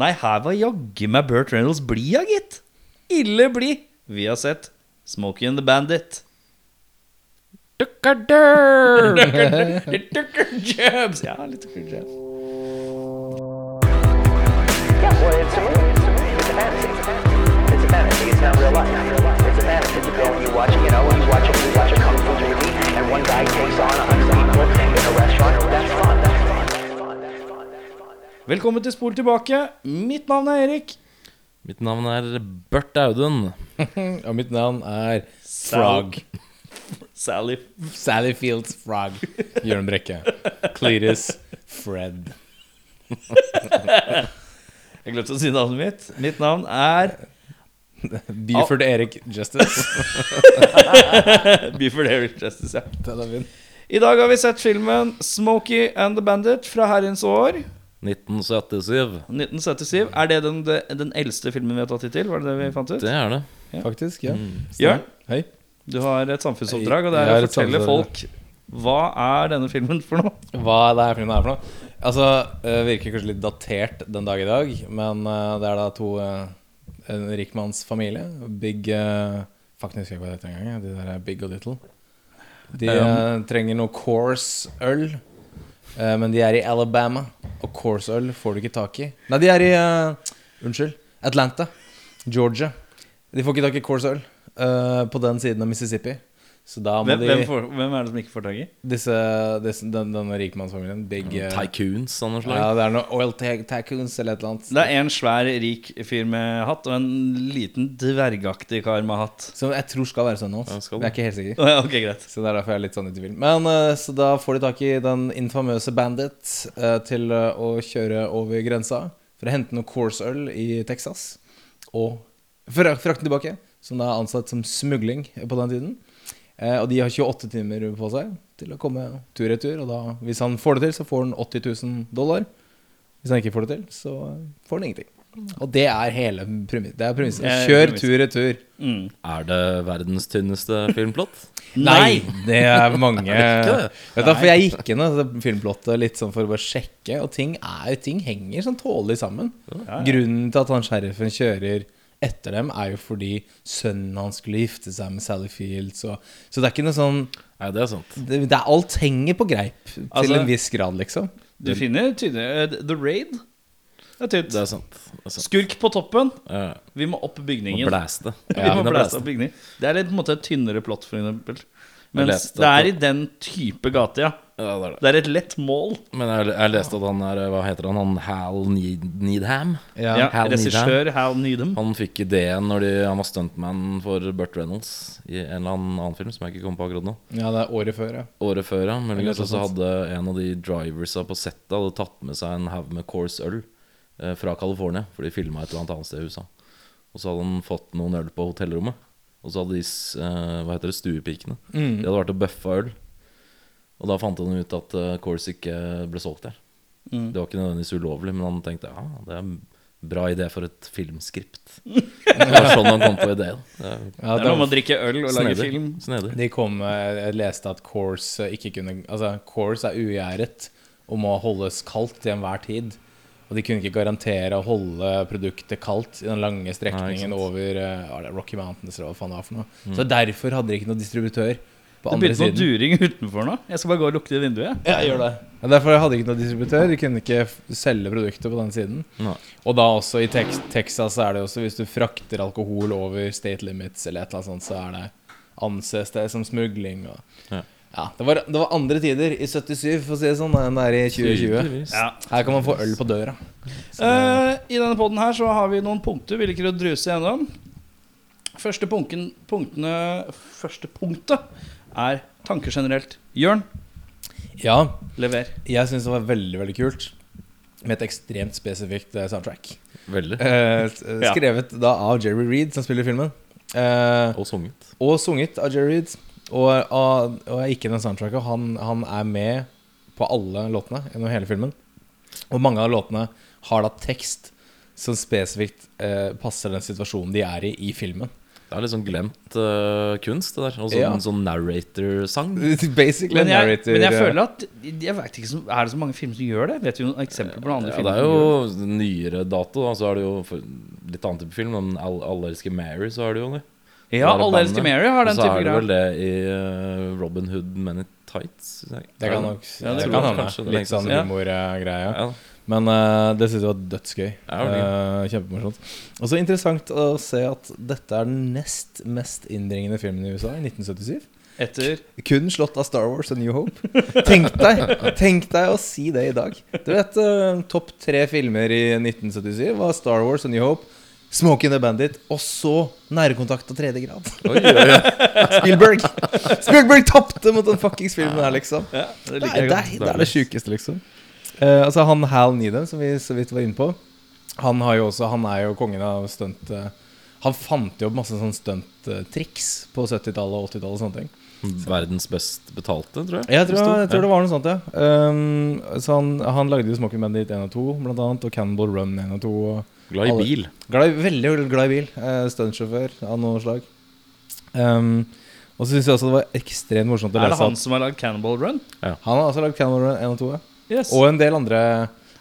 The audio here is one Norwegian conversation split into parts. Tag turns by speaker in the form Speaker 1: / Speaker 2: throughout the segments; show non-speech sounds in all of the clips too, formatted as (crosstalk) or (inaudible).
Speaker 1: Nei, her var jaggu meg Burt Reynolds blid, ja, gitt. Ille blid. Vi har sett Smokey and the Bandit. (laughs)
Speaker 2: Dukkadør!
Speaker 1: Litt Tucker Jabs. Ja, litt Tucker Jabs.
Speaker 3: Yeah, well, it's a movie. It's a movie. It's a fantasy. It's a fantasy. It's not real life. It's a fantasy. You go and you watch, you know, you watch, a, you watch a kung fu movie, and one guy takes on a hundred people in a restaurant. That's fun. That's fun. That's fun. That's fun. That's fun.
Speaker 1: Velkommen til Spol tilbake. Mitt navn er Erik.
Speaker 2: Mitt navn er Bert Audun.
Speaker 4: (laughs) Og mitt navn er
Speaker 1: Sal. Sally.
Speaker 4: Sally Fields Frog. Jørn Brekke. Cletus Fred.
Speaker 1: Jeg glemte å si navnet mitt. Mitt navn er
Speaker 4: Buford
Speaker 2: Ah.
Speaker 4: Erik Justice.
Speaker 1: Buford Eric Justice. Ja.
Speaker 4: Den er min.
Speaker 1: I dag har vi sett filmen Smokey and the Bandit fra herrens år.
Speaker 2: 1977.
Speaker 1: 1977. Er det den, det- den eldste filmen vi har tatt hittil? Var det det vi fant ut?
Speaker 2: Det er det.
Speaker 4: Faktisk, ja.
Speaker 2: Mm.
Speaker 1: Jørn,
Speaker 4: Hei.
Speaker 1: du har et samfunnsoppdrag, og det
Speaker 4: Jeg
Speaker 1: er å
Speaker 4: har et
Speaker 1: fortelle
Speaker 4: samfunnsoppdrag.
Speaker 1: folk hva er denne filmen for noe.
Speaker 4: Hva er det her filmen er for noe? Altså, eh, Virker kanskje litt datert den dag i dag, men eh, det er da to eh, En rikmannsfamilie. Big eh, Fuck, nå husker jeg ikke hva det heter engang. jeg. De der er Big og Little. De eh, trenger noe Course-øl, eh, men de er i Alabama. Og Course-øl får du ikke tak i. Nei, de er i eh, Unnskyld. Atlanta. Georgia. De får ikke tak i Course-øl eh, på den siden av Mississippi. Så da må
Speaker 1: Hvem,
Speaker 4: de
Speaker 1: hvem, får, hvem er det som ikke får tak i?
Speaker 4: disse, disse, den, denne rikmannsfamilien.
Speaker 2: Mm,
Speaker 4: Big eh,
Speaker 2: Tycoons av noe
Speaker 4: Ja,
Speaker 2: slag.
Speaker 4: det er noe Oil ty- Tycoons eller et eller annet.
Speaker 1: Det er en svær, rik fyr med hatt og en liten dvergaktig kar med hatt.
Speaker 4: Som jeg tror skal være sånn sønnen
Speaker 2: Ja,
Speaker 4: hans.
Speaker 2: skal
Speaker 4: Men jeg er ikke helt sikker.
Speaker 1: Å ja, Ok, greit.
Speaker 4: Så det er derfor jeg er litt sånn i tvil. Men eh, så da får de tak i den infamøse Bandit eh, til eh, å kjøre over grensa for å hente noe Course-øl i Texas. Og fra- frakte den tilbake, som da er ansett som smugling på den tiden. Eh, og de har 28 timer på seg til å komme tur-retur. Og da, hvis han får det til, så får han 80 000 dollar. Hvis han ikke får det til, så får han ingenting. Og det er hele premisset. Det er premisset.
Speaker 1: Mm. Det er
Speaker 4: Kjør
Speaker 1: premisset.
Speaker 4: tur-retur.
Speaker 1: Mm.
Speaker 2: Er det verdens (laughs) tynneste filmplott?
Speaker 1: Nei!
Speaker 4: Det er mange
Speaker 2: Er det ikke det?
Speaker 4: Vet du, for Jeg gikk inn i filmplottet litt sånn for å bare sjekke, og ting, er, ting henger sånn tålelig sammen. Grunnen til at han sheriffen kjører etter dem, er jo fordi sønnen hans skulle gifte seg med Sally Fields. Og, så det er ikke noe sånn
Speaker 2: Nei, det er sant.
Speaker 4: det, det er Alt henger på greip til
Speaker 1: Altså-
Speaker 4: en viss grad, liksom.
Speaker 1: Du finner tydelig eh, The Raid. Det er tynt.
Speaker 2: Det er sant. Det er sant.
Speaker 1: Skurk på toppen.
Speaker 2: Ja.
Speaker 1: Vi må opp
Speaker 2: Må
Speaker 1: bygningen.
Speaker 2: blæste.
Speaker 1: Vi må
Speaker 2: Begynne å
Speaker 1: blæse
Speaker 2: blæste.
Speaker 1: opp bygningen. Det er litt, på en måte et tynnere plott, for eksempel. Mens
Speaker 2: leste
Speaker 1: det
Speaker 2: at
Speaker 1: er i den type gate, ja.
Speaker 2: Ja, det er det.
Speaker 1: Det er et lett mål.
Speaker 2: Men jeg, jeg leste at han er Hva heter han? Han Hal Need Needham?
Speaker 4: Ja.
Speaker 1: Ja,
Speaker 2: Hal Needham.
Speaker 1: Regissør Hal Needham.
Speaker 2: Han fikk ideen når de, han var stuntman for Burt Reynolds i en eller annen annen film som jeg ikke kommer på akkurat nå.
Speaker 4: ja, det er året før, ja.
Speaker 2: Året før, ja. Muligens
Speaker 4: Eller noe
Speaker 2: også
Speaker 4: sånt.
Speaker 2: hadde en av de driversa på settet hadde tatt med seg en haug med Course øl eh, fra California, for de filma et eller annet annet sted i USA. Og så hadde han fått noen øl på hotellrommet. Og så hadde de s- eh, hva heter det, stuepikene.
Speaker 4: Mm.
Speaker 2: De hadde vært og bøffa øl. Og da fant han ut at eh, Course ikke ble solgt der. Det var ikke nødvendigvis ulovlig, men han tenkte ja, det er en bra idé for et filmskript. Det var sånn han kom på ideen. Det er
Speaker 4: ja
Speaker 1: Det er noe med å drikke øl og lage
Speaker 2: Snedig.
Speaker 1: film.
Speaker 2: Snedig.
Speaker 4: De kom med Jeg leste at Course ikke kunne Altså, Course er ugjæret og må holdes kaldt til enhver tid. Og de kunne ikke garantere å holde produktet kaldt i den lange strekningen
Speaker 2: sant.
Speaker 4: over eh, hva er det, Rocky Mountains eller hva faen det var for noe. Så derfor hadde de ikke noen distributør på
Speaker 1: Mm. Det
Speaker 4: andre
Speaker 1: begynte noe
Speaker 4: siden.
Speaker 1: during (laughs) utenfor nå. Jeg skal bare gå og lukte i vinduet.
Speaker 4: Ja, gjør det. Ja, derfor hadde de ikke noen distributør. De kunne ikke f- selge produktet på den siden.
Speaker 2: Nei.
Speaker 4: Og da også i Tex Texas er det også hvis du frakter alkohol over state limits eller et eller annet sånt, så er det anses det som smugling og
Speaker 2: Ja.
Speaker 4: Ja, det var, det var andre tider i 77, for å si det sånn, enn det er i 2020.
Speaker 2: Tydeligvis.
Speaker 1: Ja.
Speaker 4: Her kan man få øl på døra.
Speaker 1: Eh, I denne podden her så har vi noen punkter vi liker å druse gjennom. Første, punken, punktene, første punktet er tanker generelt. Jørn,
Speaker 4: Ja,
Speaker 1: lever.
Speaker 4: jeg syns det var veldig, veldig kult med et ekstremt spesifikt eh, soundtrack.
Speaker 2: Veldig.
Speaker 4: Eh, s-
Speaker 1: Ja.
Speaker 4: skrevet da av Jerry Reed, som spiller i filmen. Eh,
Speaker 2: Og sunget.
Speaker 4: Og sunget av Jerry Reed. Og, og, og er ikke den soundtracket. Han, han er med på alle låtene gjennom hele filmen. Og mange av låtene har da tekst som spesifikt eh, passer den situasjonen de er i i filmen.
Speaker 2: Det er litt sånn glemt eh, kunst, det der. Og sånn,
Speaker 4: Ja.
Speaker 2: sånn narrator-sang.
Speaker 4: (laughs) Basically
Speaker 1: Men jeg,
Speaker 4: narrator,
Speaker 1: men jeg
Speaker 4: eh,
Speaker 1: føler at Jeg vet ikke, så- Er det så mange filmer som gjør det? Vet du noen eksempler på noen andre
Speaker 2: Ja,
Speaker 1: filmer?
Speaker 2: det er
Speaker 1: som gjør
Speaker 2: jo nyere dato, da. Så er det jo for, litt annen type film. Men All, Alle elsker Mary, så er det jo det.
Speaker 1: det? ja
Speaker 2: Så er
Speaker 1: Alle
Speaker 2: det bandet.
Speaker 1: elsker Mary har den
Speaker 2: Og så
Speaker 1: type
Speaker 2: er det
Speaker 1: greier.
Speaker 2: vel det i eh, Robin Hood Men in Tights. synes jeg.
Speaker 4: Det kan nok
Speaker 1: Ja, det
Speaker 4: det
Speaker 1: tror
Speaker 4: kan
Speaker 1: jeg
Speaker 4: hende.
Speaker 2: kanskje det
Speaker 4: Litt
Speaker 2: lengste
Speaker 4: sånn
Speaker 1: siden.
Speaker 4: humorgreie.
Speaker 2: Ja.
Speaker 4: Men eh, det synes jeg var dødsgøy.
Speaker 2: Ja, det
Speaker 4: Eh, Kjempemorsomt. Og så interessant å se at dette er den nest mest innbringende filmen i USA i 1977.
Speaker 1: Etter
Speaker 4: Kun slått av Star Wars og New Hope. Tenk deg Tenk deg å si det i dag. Du vet, eh, topp tre filmer i 1977 var Star Wars og New Hope, Smoking the Bandit og så Nærkontakt og tredje grad.
Speaker 2: Oi, oi, oi.
Speaker 4: Spielberg Spielberg tapte mot den fuckings filmen her, liksom.
Speaker 1: ja, Det
Speaker 4: Det
Speaker 1: liker jeg
Speaker 4: er
Speaker 1: godt.
Speaker 4: det, det, er det sjukeste, liksom. Eh, altså Han Hal Needham, som vi så vidt var inne på, han, har jo også, han er jo kongen av stunt... eh, han fant jo opp masse sånn stunttriks på 70-tallet og 80-tallet. og sånne ting
Speaker 2: Verdens best betalte, tror jeg.
Speaker 4: Jeg tror,
Speaker 2: Forstod.
Speaker 4: jeg tror det var noe sånt, ja. Ehm, så han, han lagde jo Smoking Bandit 1 og 2, blant annet, og Cannibal Run 1 og 2. Og
Speaker 2: Glad i
Speaker 4: Alle-
Speaker 2: bil.
Speaker 4: Glad i, veldig glad i bil. Eh, Stuntsjåfør av noe slag. Ehm, og så syns jeg også det var ekstremt morsomt å
Speaker 1: Er det
Speaker 4: lese
Speaker 1: han
Speaker 4: at
Speaker 1: som har lagd Cannibal Run?
Speaker 4: han har også lagd Cannibal Run 1 og 2. Ja.
Speaker 1: Yes.
Speaker 4: Og en del andre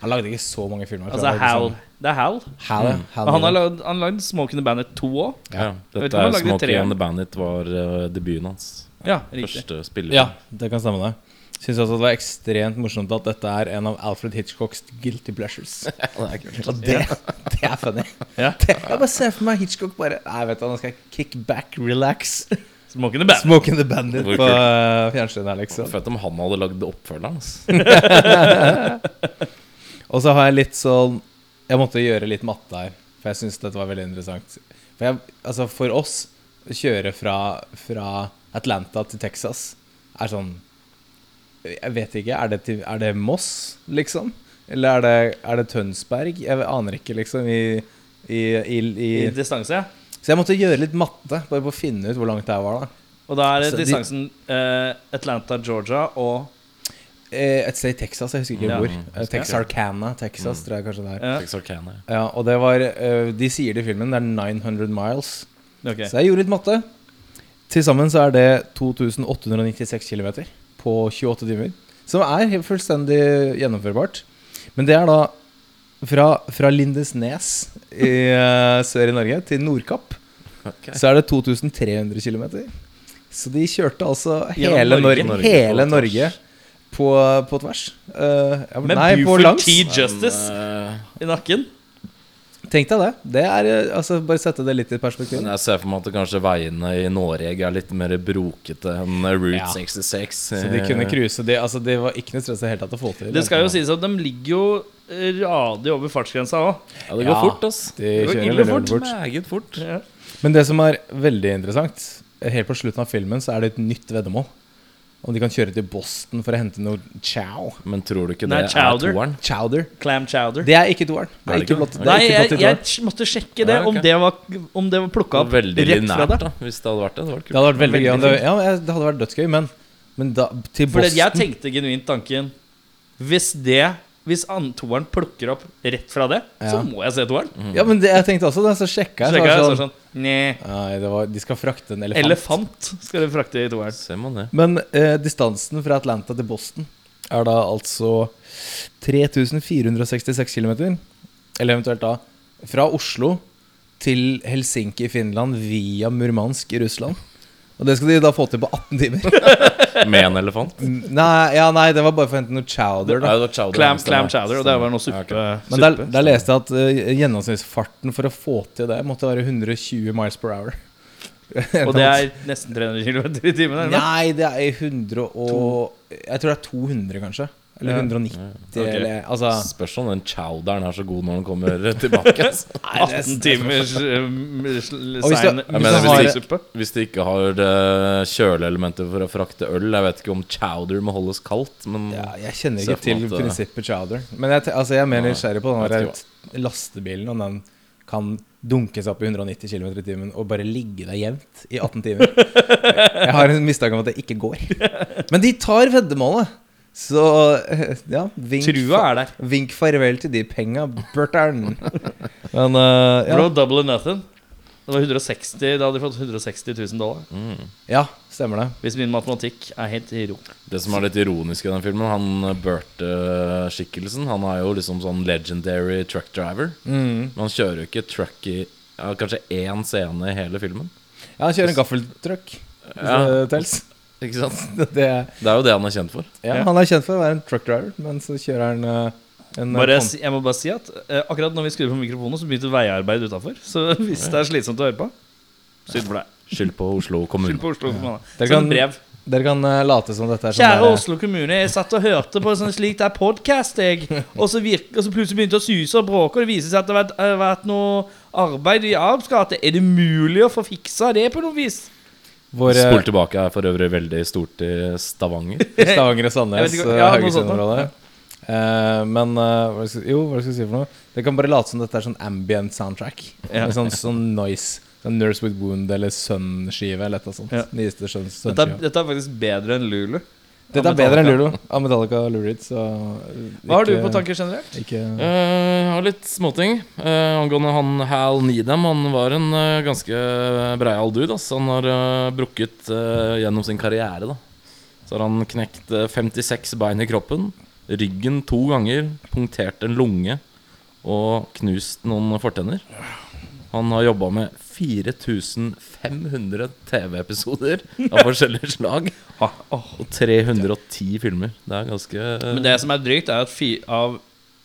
Speaker 4: Han lagde ikke så mange filmer.
Speaker 1: altså Hal. Det er Hal.
Speaker 4: sånn Hal, ja. Hal
Speaker 1: Og han har
Speaker 4: Needham.
Speaker 1: lagd, han har lagd Smoke in the Bandit 2 òg.
Speaker 2: Ja.
Speaker 1: vet ikke
Speaker 2: Dette
Speaker 1: om han
Speaker 2: er
Speaker 1: lagde
Speaker 2: Smoky
Speaker 1: tre.
Speaker 2: and the Bandit var eh, debuten hans.
Speaker 1: Ja, riktig.
Speaker 2: Første spiller.
Speaker 4: Ja, Liksom. det kan stemme, det. Syns også det var ekstremt morsomt at dette er en av Alfred Hitchcocks guilty (laughs) pleasures. Og det, det er funny.
Speaker 1: Ja.
Speaker 4: Det, jeg bare ser for meg Hitchcock bare Nei, vet du, nå skal jeg kick back, relax.
Speaker 1: Smoke in the Bandit.
Speaker 4: Smoking the bandit
Speaker 2: Hvor
Speaker 4: på eh, fjernsynet her, liksom.
Speaker 2: Fett om han hadde lagd oppfølgeren. ass.
Speaker 4: (laughs) Og så har jeg litt sånn Jeg måtte gjøre litt matte her, for jeg syns dette var veldig interessant. For, jeg, altså for oss å kjøre fra, fra Atlanta til Texas er sånn Jeg vet ikke. Er det, til, er det Moss, liksom? Eller er det, er det Tønsberg? Jeg aner ikke, liksom. I, i, i, i.
Speaker 1: I distanse, ja.
Speaker 4: Så jeg måtte gjøre litt matte, bare på å finne ut hvor langt det her var. da
Speaker 1: Og da er
Speaker 4: Så Altså, de-
Speaker 1: distansen eh, Atlanta, Georgia og
Speaker 4: Eh, Et sted i Texas, jeg husker ikke
Speaker 1: Ja.
Speaker 4: hvor. Eh, Texarkana, Texas, tror jeg kanskje det er.
Speaker 1: ja.
Speaker 2: Texarkana.
Speaker 4: Ja, og det var eh, De sier det i filmen, det er 900 miles.
Speaker 1: ok.
Speaker 4: Så jeg gjorde litt matte. Til sammen så er det 2896 km på 28 timer. Som er helt fullstendig gjennomførbart. Men det er da fra, fra Lindesnes i eh, sør i Norge til Nordkapp
Speaker 2: Ok.
Speaker 4: så er det 2300 km. Så de kjørte altså
Speaker 1: Gjennom
Speaker 4: hele Norge,
Speaker 1: Norge.
Speaker 2: Norge
Speaker 4: hele
Speaker 2: på
Speaker 4: Norge på, på tvers. Eh, ja,
Speaker 1: Med
Speaker 4: nei, på
Speaker 1: Buford
Speaker 4: langs.
Speaker 1: T.
Speaker 2: Men,
Speaker 1: Justice
Speaker 2: eh,
Speaker 1: i nakken.
Speaker 4: Tenk deg det. det er, eh, altså, bare sette det litt i perspektiv.
Speaker 2: Men jeg ser for meg at det kanskje veiene i Norge er litt mer brokete enn Route
Speaker 4: Ja.
Speaker 2: 66.
Speaker 4: Så de kunne cruise. Det, altså, det var ikke noe stress i det hele tatt å få til.
Speaker 1: Eh. Det skal jo sies at de ligger jo radig over fartsgrensa òg.
Speaker 2: Ja, det går
Speaker 4: Ja.
Speaker 2: fort, ass.
Speaker 4: De
Speaker 2: Det går
Speaker 4: kjører
Speaker 2: ille
Speaker 4: veldig,
Speaker 2: fort.
Speaker 4: veldig fort.
Speaker 2: Meget fort.
Speaker 1: Ja.
Speaker 4: Men det som er veldig interessant, helt på slutten av filmen så er det et nytt veddemål. Om de kan kjøre til Boston for å hente noe chow.
Speaker 2: Men tror du ikke
Speaker 1: Nei,
Speaker 2: det er
Speaker 1: chowder.
Speaker 2: toeren?
Speaker 4: Chowder.
Speaker 1: Clam chowder.
Speaker 4: Det er ikke toeren. Det
Speaker 2: Er
Speaker 4: er
Speaker 2: det
Speaker 4: ikke
Speaker 2: ikke?
Speaker 4: blått. Det
Speaker 1: Nei,
Speaker 4: er ikke
Speaker 1: jeg,
Speaker 4: blått i toeren.
Speaker 1: jeg måtte sjekke det,
Speaker 2: Ja,
Speaker 1: om
Speaker 2: ok.
Speaker 1: det var, om det var plukka opp
Speaker 2: Veldig
Speaker 1: rett fra
Speaker 2: linært,
Speaker 1: det.
Speaker 2: da. Hvis det hadde vært det. Det hadde vært
Speaker 4: Det
Speaker 2: kult.
Speaker 4: hadde vært veldig gøy om det Ja, jeg- det hadde vært dødsgøy, men, men da, til
Speaker 1: For det-
Speaker 4: Boston
Speaker 1: Liksom. jeg tenkte genuint tanken Hvis det Hvis an- toeren plukker opp rett fra det,
Speaker 4: Ja.
Speaker 1: så må jeg se toeren.
Speaker 4: Ja, men det, jeg tenkte også det, så sjekka
Speaker 1: Så
Speaker 4: jeg. så var
Speaker 1: tenker jeg
Speaker 4: det
Speaker 1: så er det sånn Nei.
Speaker 4: sånn, Nei, det var, de skal frakte en elefant.
Speaker 1: Elefant skal du frakte i toeren.
Speaker 2: Ser man det.
Speaker 4: Men eh, distansen fra Atlanta til Boston er da altså 3466 km. Eller eventuelt da fra Oslo til Helsinki i Finland via Murmansk i Russland. Og det skal de da få til på 18
Speaker 1: (laughs)
Speaker 4: timer.
Speaker 2: Med en elefant?
Speaker 4: nei, ja, nei, det var bare for å hente noe chowder, da.
Speaker 2: Nei, det var chowder,
Speaker 1: Clam,
Speaker 2: stemmer.
Speaker 1: clam chowder, og det var noe
Speaker 2: Ja,
Speaker 1: suppe.
Speaker 2: ok.
Speaker 4: Men der, der leste jeg at eh, gjennomsnittsfarten for å få til det måtte være 120 miles per hour. (laughs)
Speaker 1: Og det er nesten 300 km i timen? eller noe?
Speaker 4: Nei, det er 100 og Jeg tror det er 200, kanskje. Eller
Speaker 1: Ja.
Speaker 4: 190,
Speaker 2: Ok.
Speaker 4: eller altså
Speaker 2: Spørs om den chowderen er så god når den kommer (laughs) tilbake. ass.
Speaker 1: 18 timers um,
Speaker 4: Og hvis du-
Speaker 1: sein
Speaker 4: hvis du har-
Speaker 1: myslisuppe?
Speaker 2: Hvis de ikke har eh, kjøleelementer for å frakte øl Jeg vet ikke om chowder må holdes kaldt, men
Speaker 4: ja, Jeg kjenner ikke
Speaker 2: Ser for
Speaker 4: til
Speaker 2: meg at, eh,
Speaker 4: prinsippet chowder. Men jeg, te- altså, jeg er mer
Speaker 2: Nei,
Speaker 4: nysgjerrig på den
Speaker 2: jeg
Speaker 4: der
Speaker 2: vet
Speaker 4: t- lastebilen, om den kan dunkes opp i 190 km i timen og bare ligge der jevnt i 18 (laughs) timer. Jeg har en mistanke om at det ikke går. Men de tar veddemålet! Så eh, ja, vink,
Speaker 1: (laughs) Trua er der.
Speaker 4: vink farvel til de penga, Bertern. (laughs) Men eh, ja.
Speaker 1: Bro, double or nothing. Det var 160, da hadde de fått 160 000 dollar.
Speaker 2: Mm.
Speaker 4: Ja, stemmer det.
Speaker 1: Hvis min matematikk er helt i ro.
Speaker 2: Det som er litt ironisk i den filmen, han Berte-skikkelsen Han er jo liksom sånn legendary truck driver.
Speaker 4: Mm.
Speaker 2: Men han kjører jo ikke truck i ja, kanskje én scene i hele filmen.
Speaker 4: Ja, han kjører en gaffeltruck.
Speaker 2: Ja.
Speaker 4: Ja.
Speaker 2: Ikke sant?
Speaker 4: (laughs) Det er,
Speaker 2: Det er jo det han er kjent for.
Speaker 4: ja,
Speaker 1: Ja.
Speaker 4: Han er kjent for å være en truck driver, men så kjører han eh, en eh,
Speaker 1: Bare,
Speaker 4: pont-
Speaker 1: si- jeg må bare si at eh, akkurat når vi skrur på mikrofonen, så begynte veiarbeid utafor. Så hvis det er slitsomt å høre på, synd for deg.
Speaker 2: Skyld på Oslo
Speaker 1: Skyld
Speaker 2: kommune.
Speaker 1: på Oslo kommune.
Speaker 4: Dere
Speaker 1: Send
Speaker 4: kan-
Speaker 1: brev.
Speaker 4: Dere kan eh, late som dette er sånn
Speaker 1: Kjære
Speaker 4: der-
Speaker 1: Oslo kommune, jeg satt og hørte på en sånn slik der podkast, jeg. Og så, virk- og så plutselig begynte det å suse og bråke, og det viser seg at det har vært, har vært noe arbeid i Arbs gate. Er det mulig å få fiksa det på noe vis?
Speaker 4: Hvor, eh,
Speaker 2: Spol tilbake er for øvrig veldig stort i Stavanger.
Speaker 4: (laughs) Stavanger og Sandnes,
Speaker 1: Jeg vet ikke- ja,
Speaker 4: eh,
Speaker 1: noe sånt da.
Speaker 4: Haugesund-området. Eh, men eh, hva skal, jo, hva skal jeg si for noe? Dere kan bare late som dette er sånn ambient soundtrack.
Speaker 1: Ja.
Speaker 4: Med Sånn, sånn noise. Sånn Nurse with Wound eller Sun-skive eller et eller annet sånt.
Speaker 1: Ja.
Speaker 4: Nyeste Sun- Sun-skiva.
Speaker 1: Dette, er- dette er faktisk bedre enn Lulu.
Speaker 4: Sånn Dette er bedre enn Lulo. Av Metallica og Lurid, så
Speaker 1: Hva har du på tanker generelt?
Speaker 4: Ikke
Speaker 2: Eh, Jeg har litt småting. Eh, angående han Hal Needham, han var en eh, ganske breial dude. Ass. Han har eh, brukket eh, gjennom sin karriere. Da. Så har han knekt eh, 56 bein i kroppen, ryggen to ganger, punktert en lunge og knust noen fortenner. Han har jobba med 4500 TV-episoder av forskjellige slag. Og 310 filmer. Det er ganske
Speaker 1: Men det som er drygt, er at fi, av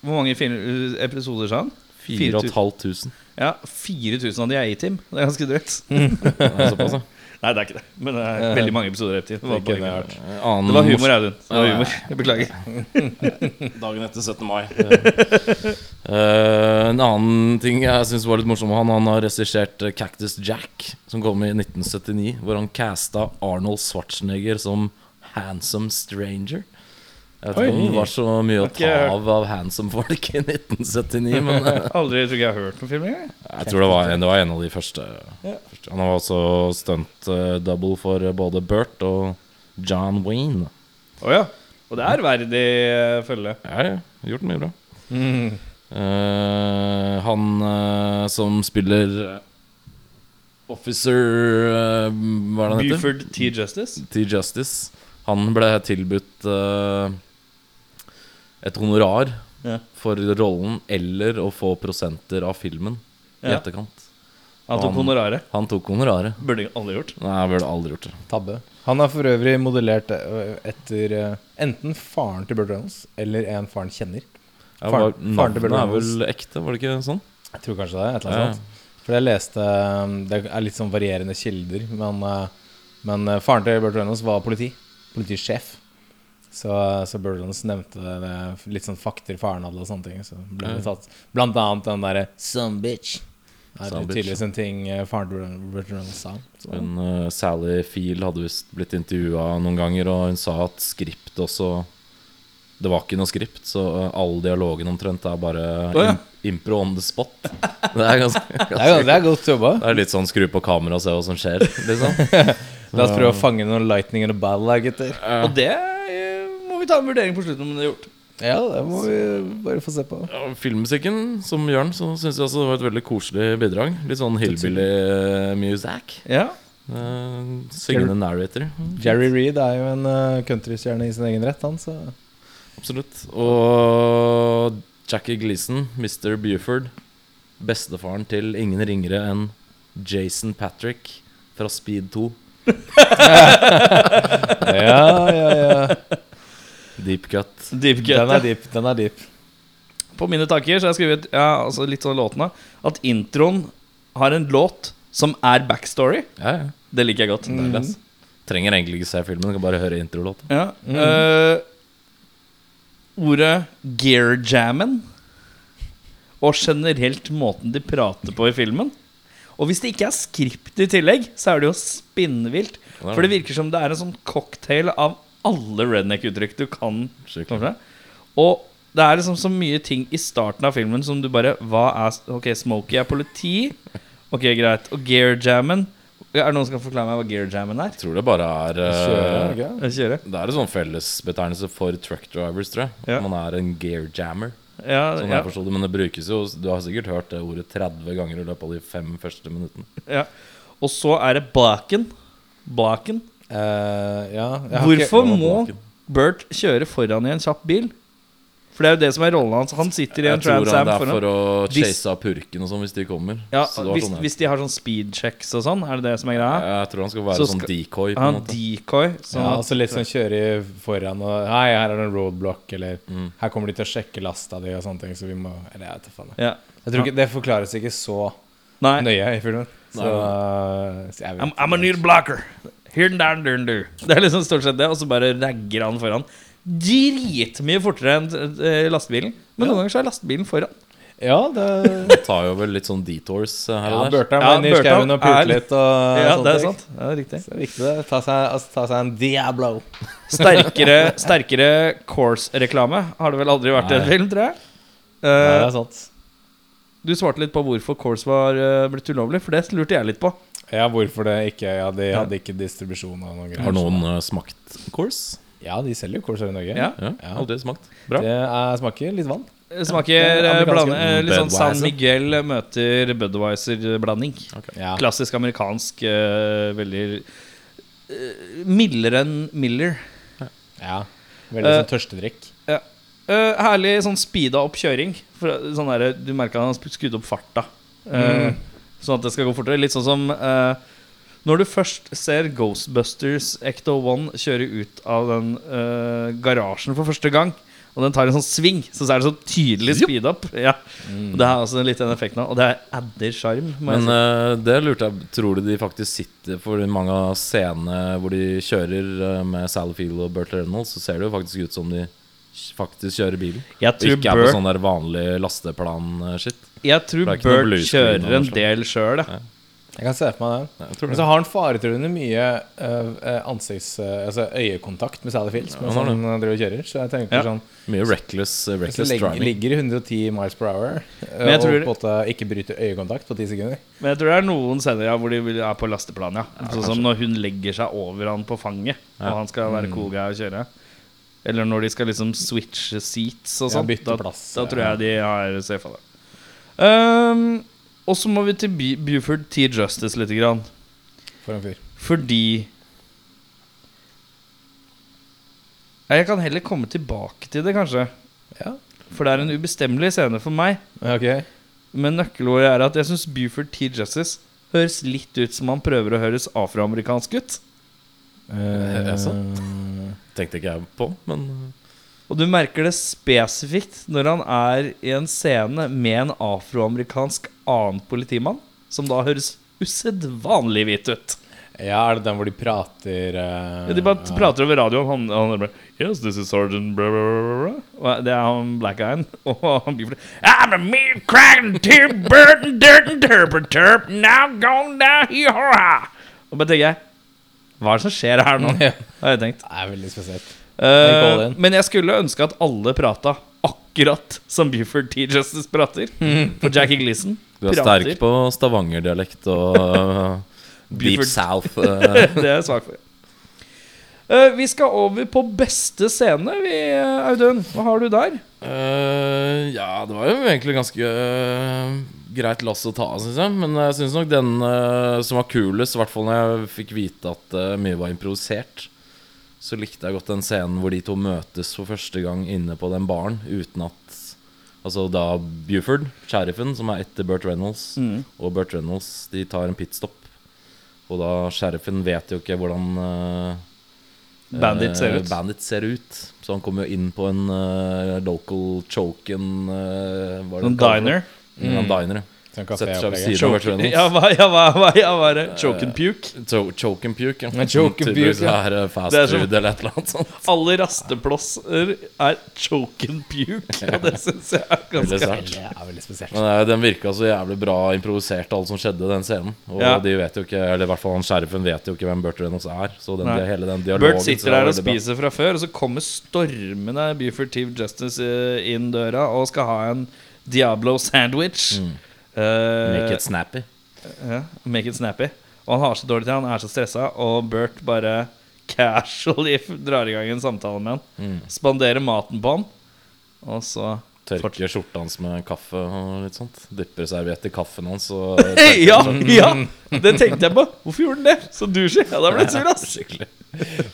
Speaker 1: Hvor mange fil- episoder sa han?
Speaker 2: 4500.
Speaker 1: Ja, 4000 av de er A-Team. Det er ganske
Speaker 4: (laughs)
Speaker 1: drøyt.
Speaker 2: Det er såpass, ja.
Speaker 1: Nei, det er ikke det. Men det er veldig mange episoder av A-Team. Det, var
Speaker 4: ikke det
Speaker 1: bare-
Speaker 4: vært.
Speaker 2: Eh, Annen
Speaker 1: det var humor,
Speaker 2: mors-
Speaker 1: Audun. Det var humor. Jeg beklager.
Speaker 2: Dagen etter 17. mai. Eh, en annen ting jeg syns var litt morsom, han, han har regissert eh, Cactus Jack, som kom i 1979, hvor han casta Arnold Schwarzenegger som Handsome Stranger. Jeg vet ikke om det var så mye å
Speaker 1: Har ikke
Speaker 2: ta
Speaker 1: jeg hørt.
Speaker 2: av av handsome folk i 1979, (laughs) men eh,
Speaker 1: Aldri tror ikke jeg har hørt noen film engang.
Speaker 2: jeg tror det var, en, det var en av de første. første. Han var også stunt eh, double for eh, både Bert og John Wayne.
Speaker 1: Å ja. Og det er verdig eh, følge.
Speaker 2: Ja, ja. Gjort mye bra.
Speaker 4: Mm.
Speaker 2: Eh, han eh, som spiller eh, Officer eh, Hva er det han heter?
Speaker 1: Buford T. Justice.
Speaker 2: T. Justice. Han ble tilbudt eh, et honorar
Speaker 1: Ja.
Speaker 2: for rollen eller å få prosenter av filmen i
Speaker 1: Ja.
Speaker 2: etterkant.
Speaker 1: Han tok honoraret.
Speaker 2: Han tok honoraret.
Speaker 1: Burde alle gjort.
Speaker 2: Nei, jeg burde aldri gjort det.
Speaker 4: Tabbe. Han har for øvrig modellert eh, etter eh, enten faren til Burt Reynolds eller en faren kjenner.
Speaker 2: Ja,
Speaker 4: Faren-
Speaker 2: var-
Speaker 4: faren til Burt
Speaker 2: Navnet er
Speaker 4: Reynolds.
Speaker 2: vel ekte, var det ikke sånn?
Speaker 4: Jeg tror kanskje det. Et eller
Speaker 2: Ja, ja.
Speaker 4: annet sånt. For jeg leste um, Det er litt sånn varierende kilder, men, uh, men uh, faren til Burt Reynolds var politi. Politisjef. Så, eh, så Burt Reynolds nevnte det, det litt sånn fakter faren hadde og sånne ting. Så ble det tatt Blant annet den derre 'Some bitch'. Det er
Speaker 2: Some bitch.
Speaker 4: tydeligvis en ting uh, faren til Burt Reynolds sa. Så.
Speaker 2: Hun, eh, Sally Field hadde visst blitt intervjua noen ganger, og hun sa at skript også Det var ikke noe skript, så eh, all dialogen omtrent er bare
Speaker 1: Å, ja.
Speaker 2: im- impro on the spot. (laughs) Det er ganske,
Speaker 4: Det er, jo- det er godt jobba.
Speaker 2: Det er litt sånn skru på kameraet og se hva som skjer, liksom.
Speaker 4: La oss prøve å fange noen lightning in a battle her, gutter.
Speaker 1: Og det eh, må vi ta en vurdering på slutten om det er gjort.
Speaker 4: Ja, det må vi bare få se på.
Speaker 2: Ja, Filmmusikken, som Jørn, så syns jeg også det var et veldig koselig bidrag. Litt sånn hillbilly eh, music.
Speaker 1: Ja.
Speaker 2: Eh, Syngende narrator.
Speaker 4: Jerry Reed er jo en uh, countrystjerne i sin egen rett, han, så
Speaker 2: Absolutt. Og Jackie Gleason, Mr. Buford, bestefaren til ingen ringere enn Jason Patrick fra Speed 2.
Speaker 4: Ja, ja, ja.
Speaker 2: Deep cut.
Speaker 1: Deep
Speaker 4: (laughs) Den
Speaker 1: cut.
Speaker 4: er deep. Den er deep.
Speaker 1: På mine tanker så har jeg skrevet ja, altså litt sånn låtene at introen har en låt som er backstory.
Speaker 2: Ja, ja.
Speaker 1: Det liker jeg godt.
Speaker 2: Deilig, ass. Trenger egentlig ikke se filmen, kan bare høre introlåten.
Speaker 1: Ja. eh, ordet gearjammen og generelt måten de prater på i filmen. Og hvis det ikke er skript i tillegg, så er det jo spinnvilt.
Speaker 2: Ja.
Speaker 1: For det virker som det er en sånn cocktail av alle redneck-uttrykk du kan.
Speaker 2: Skikkelig.
Speaker 1: Kanskje. Og det er liksom så mye ting i starten av filmen som du bare Hva er Ok, Smokey er politi. Ok, greit. Og gearjammen Er det noen som kan forklare meg hva gearjammen er?
Speaker 2: Jeg tror det bare er eh,
Speaker 4: Kjører, ok.
Speaker 1: Jeg kjører.
Speaker 2: Det er en sånn fellesbetegnelse for truck drivers, tror jeg.
Speaker 1: Ja.
Speaker 2: Man er en gear jammer.
Speaker 1: Ja,
Speaker 2: Sånn jeg
Speaker 1: ja,
Speaker 2: forstod det, Men det brukes jo Du har sikkert hørt det ordet 30 ganger i løpet av de fem første minuttene.
Speaker 1: ja. Og så er det Blaken. Blaken.
Speaker 4: Eh, ja, jeg har ikke-
Speaker 1: Hvorfor
Speaker 2: ikke-
Speaker 1: må Bert kjøre foran i en kjapp bil? For det er jo det som er rollen hans. Han sitter i
Speaker 2: Jeg
Speaker 1: en
Speaker 2: tror
Speaker 1: Trans
Speaker 2: han
Speaker 1: Am
Speaker 2: det er
Speaker 1: foran.
Speaker 2: for å
Speaker 1: Hvis-
Speaker 2: chase av purken og sånn hvis de kommer.
Speaker 1: Ja,
Speaker 2: Så det var
Speaker 1: hvis,
Speaker 2: sånn jeg-
Speaker 1: hvis de har sånn speed checks og sånn, er det det som er greia?
Speaker 2: Jeg tror han skal være
Speaker 1: Så
Speaker 2: sånn
Speaker 1: skal-
Speaker 2: decoy.
Speaker 1: Han
Speaker 2: På en
Speaker 1: har
Speaker 2: måte.
Speaker 1: decoy. Så
Speaker 4: Ja, altså litt sånn kjøre i foran og Hei, her er det en roadblock, eller Her kommer de til å sjekke lasta di og sånne ting, så vi må Eller jeg vet da faen. jeg.
Speaker 1: ja.
Speaker 4: Jeg tror ikke Det forklares ikke så
Speaker 1: Nei.
Speaker 4: nøye i filmen. Så, så jeg vet
Speaker 1: I'm, I'm a new blocker. Here and down, down, down. Det er liksom stort sett det, og så bare ragger han foran. Dritmye fortere enn eh, lastebilen. Men noen ganger så er lastebilen foran.
Speaker 4: Ja, det
Speaker 2: Han tar jo vel litt sånn detours eh, her
Speaker 4: ja,
Speaker 2: og der.
Speaker 4: Børtan
Speaker 1: Ja,
Speaker 4: var inne i
Speaker 1: Børtan
Speaker 4: skauen og pulte
Speaker 1: er-
Speaker 4: litt og
Speaker 1: Ja,
Speaker 4: sånne
Speaker 1: det er
Speaker 4: ting.
Speaker 1: sant. Ja, det er riktig.
Speaker 4: Så det er viktig det. Ta seg, altså, ta seg en Diablo.
Speaker 1: Sterkere, sterkere Course-reklame har det vel aldri vært i en
Speaker 2: Nei.
Speaker 1: film, tror jeg.
Speaker 4: Ja, det
Speaker 1: Eh,
Speaker 4: er sant.
Speaker 1: du svarte litt på hvorfor Course var eh, blitt ulovlig, for det lurte jeg litt på.
Speaker 4: Ja, hvorfor det ikke Ja, de hadde ikke distribusjon og noe greier.
Speaker 2: Har noen eh, smakt Course?
Speaker 4: Ja, de selger jo Corsair i Norge.
Speaker 1: Ja.
Speaker 2: Ja,
Speaker 4: Ja.
Speaker 2: aldri smakt.
Speaker 1: Bra.
Speaker 4: Det er, smaker litt vann.
Speaker 1: Smaker eh,
Speaker 4: amerikanske.
Speaker 1: blande, eh, litt sånn San
Speaker 2: Budweiser.
Speaker 1: Miguel møter Budwiser-blanding.
Speaker 4: Ja.
Speaker 1: Klassisk amerikansk, eh, veldig eh, mildere enn Miller.
Speaker 4: ja. Veldig
Speaker 1: Eh,
Speaker 4: sånn tørstedrikk.
Speaker 1: Ja. Eh, herlig sånn speeda opp kjøring. For, sånn der, du merka han sp- skrudde opp farta. Eh,
Speaker 2: Mm.
Speaker 1: Sånn at det skal gå fortere. Litt sånn som eh, når du først ser Ghostbusters Ecto One kjøre ut av den eh, garasjen for første gang, og den tar en sånn sving, så er det så tydelig speed up. Ja. Det er også litt den effekten av Og det adder sjarm. må jeg
Speaker 2: Mm. Men
Speaker 1: si.
Speaker 2: eh, det lurte jeg Tror du de faktisk sitter For i mange av scenene hvor de kjører eh, med Sally Field og Burt Reynolds, så ser det jo faktisk ut som de faktisk kjører bilen.
Speaker 1: Jeg
Speaker 2: Og
Speaker 1: tror
Speaker 2: ikke er på
Speaker 1: Burt-
Speaker 2: sånn der vanlig eh, lasteplan-shit.
Speaker 1: Jeg tror
Speaker 2: det er ikke noe
Speaker 1: Bert
Speaker 2: blue screen
Speaker 1: kjører en
Speaker 2: av noe
Speaker 1: del sjøl, jeg.
Speaker 4: Jeg kan se for meg det.
Speaker 2: jeg tror
Speaker 4: Men
Speaker 2: det.
Speaker 4: så har han faretruende mye eh, ansikts... eh, altså øyekontakt med Sally Fields mens
Speaker 2: han har
Speaker 4: han eh, driver og kjører. Så jeg tenker
Speaker 1: Ja.
Speaker 4: sånn
Speaker 2: Mye reckless,
Speaker 1: Altså,
Speaker 2: eh,
Speaker 4: Hvis du
Speaker 2: reckless
Speaker 4: legger,
Speaker 2: driving.
Speaker 4: ligger i 110 miles per hour eh,
Speaker 1: Men jeg
Speaker 4: og på
Speaker 1: tror-
Speaker 4: en måte ikke bryter øyekontakt på 10 sekunder
Speaker 1: Men jeg tror det er noen scener ja, hvor de vil- er på lasteplan. Ja. sånn som når hun legger seg over han på fanget, og han skal
Speaker 4: Mm.
Speaker 1: være cool guy og kjøre. Eller når de skal liksom switche seats og
Speaker 4: Ja,
Speaker 1: sånn.
Speaker 4: bytte
Speaker 1: da,
Speaker 4: plass,
Speaker 1: da
Speaker 4: ja.
Speaker 1: tror jeg de har safa det. Ehm, og så må vi til Bu- Buford T. Justice lite grann.
Speaker 4: for en fyr.
Speaker 1: Fordi Ja, Jeg kan heller komme tilbake til det, kanskje.
Speaker 4: Ja,
Speaker 1: For det er en ubestemmelig scene for meg.
Speaker 4: ok.
Speaker 1: Men nøkkelordet er at jeg syns Buford T. Justice høres litt ut som han prøver å høres afroamerikansk ut.
Speaker 4: Eh,
Speaker 2: Er det sant? Tenkte ikke jeg på, men eh,
Speaker 1: Og du merker det spesifikt når han er i en scene med en afroamerikansk annen politimann, som da høres usedvanlig hvit ut.
Speaker 4: ja, er det den hvor de prater eh,
Speaker 1: Ja, De bare prater over radioen. Han, han bare Yes, this is sergeant blah, blah, blah, blah. Og Det er han black guyen. (laughs) Og han blir I'm a meat cracking Tim Burton Durton Turperturp Now gone down here ha!» Og bare tenker jeg Hva er det som skjer her
Speaker 2: (laughs)
Speaker 1: nå?
Speaker 4: Ja.
Speaker 1: Har jeg tenkt.
Speaker 4: Det er veldig spesielt.
Speaker 1: Eh,
Speaker 4: all in.
Speaker 1: men jeg skulle ønske at alle prata akkurat som Buford T. Justice
Speaker 2: (laughs)
Speaker 1: prater. For Jackie Gleason
Speaker 2: du er sterk på stavangerdialekt
Speaker 1: (laughs)
Speaker 2: og eh, Deep
Speaker 1: Buford. (laughs)
Speaker 2: South. eh.
Speaker 1: (laughs) Det er jeg svak for. Eh, vi skal over på beste scene, vi, eh, Audun. Hva har du der?
Speaker 2: Eh, ja, det var jo egentlig ganske eh, greit lass å ta, syns jeg. Men jeg syns nok den eh, som var kulest, i hvert fall når jeg fikk vite at eh, mye var improvisert, så likte jeg godt den scenen hvor de to møtes for første gang inne på den baren uten at Altså da Buford, sheriffen, som er etter Burt Reynolds, og Burt Reynolds, de tar en pitstop. Og da sheriffen vet jo ikke hvordan eh,
Speaker 1: Bandit ser
Speaker 2: Eh,
Speaker 1: ut.
Speaker 2: Bandit ser ut. Så han kommer jo inn på en eh, local choken eh, hva er det
Speaker 1: Sånn
Speaker 2: han kaller det?
Speaker 1: diner.
Speaker 2: Ja,
Speaker 1: Mm.
Speaker 2: en diner, ja.
Speaker 4: Sånn
Speaker 2: Setter seg ved
Speaker 4: kaféopplegget.
Speaker 2: siden av Bert Reynolds.
Speaker 1: Ja, hva, Eh, ja, hva, hva, ja, hva er det? Choke and puke?
Speaker 2: Cho- Choke and puke, ja.
Speaker 4: Ja, choke and
Speaker 2: Tydeligvis
Speaker 4: puke, ja.
Speaker 2: er det fast
Speaker 1: Det er som-
Speaker 2: food eller et eller annet sånt.
Speaker 1: (laughs) Alle rasteplosser er choke and puke, og (laughs) det syns jeg er
Speaker 2: Veldig
Speaker 1: ganske
Speaker 2: sært.
Speaker 4: Det er veldig spesielt.
Speaker 2: Men eh, den virka så jævlig bra improvisert, alt som skjedde i den scenen. Og
Speaker 1: Ja.
Speaker 2: de vet jo ikke, eller i hvert fall han sheriffen vet jo ikke hvem Burt Reynolds er. Så den,
Speaker 1: Nei.
Speaker 2: hele den dialogen
Speaker 1: Bert
Speaker 2: så
Speaker 1: sitter
Speaker 2: det var
Speaker 1: der og
Speaker 2: veldig bra.
Speaker 1: spiser fra før, og så kommer stormende Buford Tiv Justice eh, inn døra og skal ha en Diablo sandwich. Eh,
Speaker 2: Mm. Make it snappy.
Speaker 1: ja, make it snappy. Og han har så dårlig tid, han er så stressa, og Bert bare (laughs)
Speaker 2: Mm.
Speaker 1: casually drar i gang en samtale med han. Spanderer maten på han, og så
Speaker 2: Tørker skjorta hans med kaffe og litt sånt. Dypper serviett i kaffen
Speaker 1: (laughs)
Speaker 2: hans. Og
Speaker 1: Ja, ja! Det tenkte jeg på. Hvorfor gjorde den det? Så douchey. Ja, da ble jeg sur, ass.
Speaker 2: Skikkelig.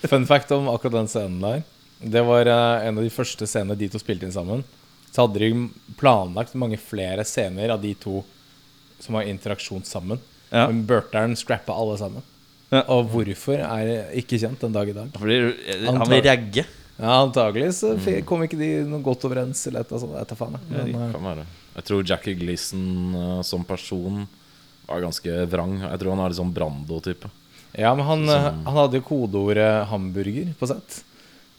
Speaker 4: Fun fact om akkurat den scenen der. Det var eh, en av de første scenene de to spilte inn sammen. Så hadde de planlagt mange flere scener av de to som har interaksjon sammen.
Speaker 1: Ja.
Speaker 4: Men Burtern scrappa alle sammen.
Speaker 1: Ja.
Speaker 4: Og hvorfor er ikke kjent den dag i dag.
Speaker 1: Fordi eh, han vil ragge.
Speaker 4: Ja, Antagelig så
Speaker 1: Mm.
Speaker 4: fi- kom ikke de noe godt overens. Eller et, sånt, jeg vet da faen, jeg. Men, eh,
Speaker 2: Kan være. Jeg tror Jackie Gleason eh, som person var ganske vrang. Jeg tror han er litt sånn Brando-type.
Speaker 4: ja, men han, eh, han hadde jo kodeordet 'hamburger' på sett.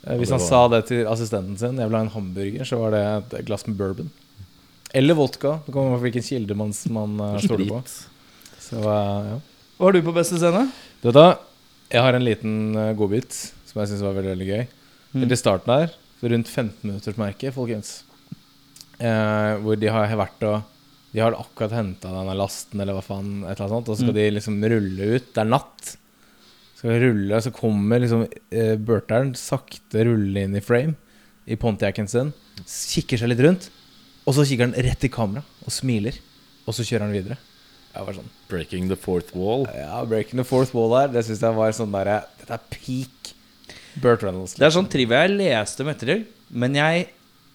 Speaker 4: Eh, Hvis han
Speaker 2: det var-
Speaker 4: sa det til assistenten sin, 'jeg vil ha en hamburger', så var det et glass med bourbon. Eller vodka. Det kommer an på hvilken kilde man, man eh, stoler på. Så, eh, ja.
Speaker 1: Hva har du på beste scene?
Speaker 4: Du vet da, jeg har en liten eh, godbit som jeg syns var veldig veldig gøy.
Speaker 1: Mm.
Speaker 4: Helt i starten her, rundt 15-minuttersmerket, folkens, eh, hvor de har vært og De har akkurat henta denne lasten, eller hva faen, et eller annet sånt, og så
Speaker 1: Mm.
Speaker 4: skal de liksom rulle ut. Det er natt. Skal de rulle, så kommer liksom eh, Burtern sakte rullende inn i frame i Pontiacen sin, kikker seg litt rundt, og så kikker han rett i kamera og smiler, og så kjører han videre. Jeg var sånn
Speaker 2: Breaking the fourth
Speaker 1: Oh.
Speaker 2: wall.
Speaker 4: ja, Breaking the fourth wall der, det syns jeg var sånn derre Dette er peak Burt Reynolds.
Speaker 1: Det er sånn trivia jeg leste om ettertid, men jeg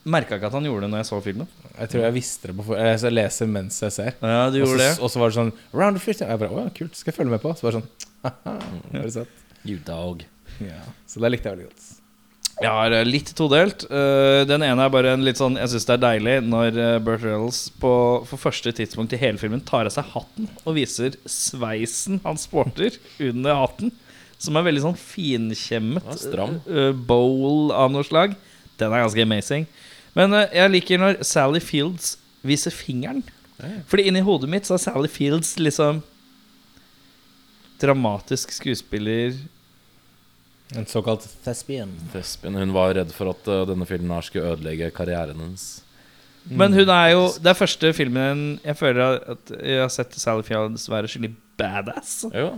Speaker 1: merka ikke at han gjorde det når jeg så filmen.
Speaker 4: Jeg tror jeg visste det på for... Jeg leser mens jeg ser.
Speaker 1: Ja, du gjorde
Speaker 4: Og så- Og så var det sånn Round of 15 Jeg bare Å ja, kult. Skal jeg følge med på? Så var det sånn Haha, Har du sett?
Speaker 2: You dog.
Speaker 4: Ja. Så det likte jeg veldig godt.
Speaker 1: Jeg har eh, litt todelt. Eh, Den ene er bare en litt sånn Jeg syns det er deilig når eh, Burt Reynolds på, for første tidspunkt i hele filmen tar av seg hatten og viser sveisen han sporter under hatten, som er veldig sånn finkjemmet.
Speaker 2: Ja, stram.
Speaker 1: eh, eh, Bowl av noe slag. Den er ganske amazing. Men eh, jeg liker når Sally Fields viser fingeren. Fordi inni hodet mitt så er Sally Fields liksom dramatisk skuespiller
Speaker 4: En såkalt thespian.
Speaker 2: Thespien. Hun var redd for at eh, denne filmen her skulle ødelegge karrieren hennes. Mm.
Speaker 1: Men hun er jo Det er første filmen jeg føler at jeg har sett Sally Fields være skikkelig badass.
Speaker 2: Jo,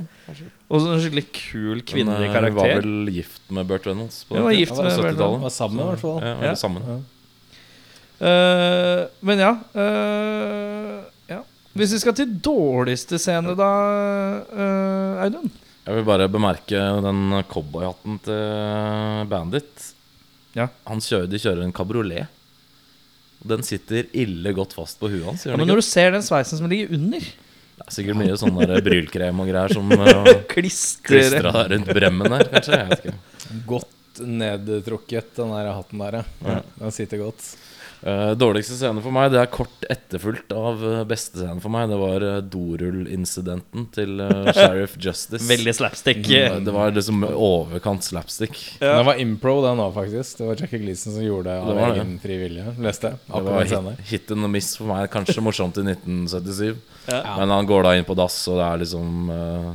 Speaker 1: Og sånn en skikkelig kul kvinnelig
Speaker 2: eh, Hun var
Speaker 1: karakter.
Speaker 2: vel gift med Burt Reynolds på
Speaker 1: Hun var
Speaker 2: tiden.
Speaker 1: gift med Burt
Speaker 2: 70-tallet.
Speaker 4: Var sammen, i hvert fall.
Speaker 2: Ja,
Speaker 1: Ja.
Speaker 2: ja. sammen.
Speaker 1: Eh, men ja, eh, ja Hvis vi skal til dårligste scene, da, eh, Audun
Speaker 2: Jeg vil bare bemerke den cowboyhatten til eh, Bandit.
Speaker 1: Ja.
Speaker 2: Han kjører, de kjører en kabriolet. Den sitter ille godt fast på huet hans. gjør
Speaker 1: ja,
Speaker 2: den
Speaker 1: Men
Speaker 2: ikke?
Speaker 1: når du ser den sveisen som ligger under
Speaker 2: Det er sikkert mye sånn der brylkrem og greier som (laughs) uh,
Speaker 1: Klistrer
Speaker 2: klistra rundt bremmen der, kanskje. Jeg vet ikke.
Speaker 4: Godt nedtrukket, den der hatten der, ja. Den sitter godt.
Speaker 2: Eh, dårligste scene for meg, det er kort etterfulgt av eh, beste scene for meg. Det var eh, dorull-incidenten til (laughs) eh, Sheriff Justice.
Speaker 1: Veldig slapstick.
Speaker 2: Eh, Det var liksom overkant slapstick.
Speaker 1: Ja.
Speaker 4: Den var impro, den òg, faktisk. Det var Jackie Gleason som gjorde det
Speaker 2: Det
Speaker 4: av
Speaker 2: var det.
Speaker 4: egen fri vilje. Leste jeg.
Speaker 2: Det
Speaker 4: Akkurat
Speaker 2: var
Speaker 4: den scenen.
Speaker 2: hit, hit and miss for meg. Kanskje morsomt i 1977.
Speaker 1: Ja.
Speaker 2: Men han går da inn på dass, og det er liksom eh,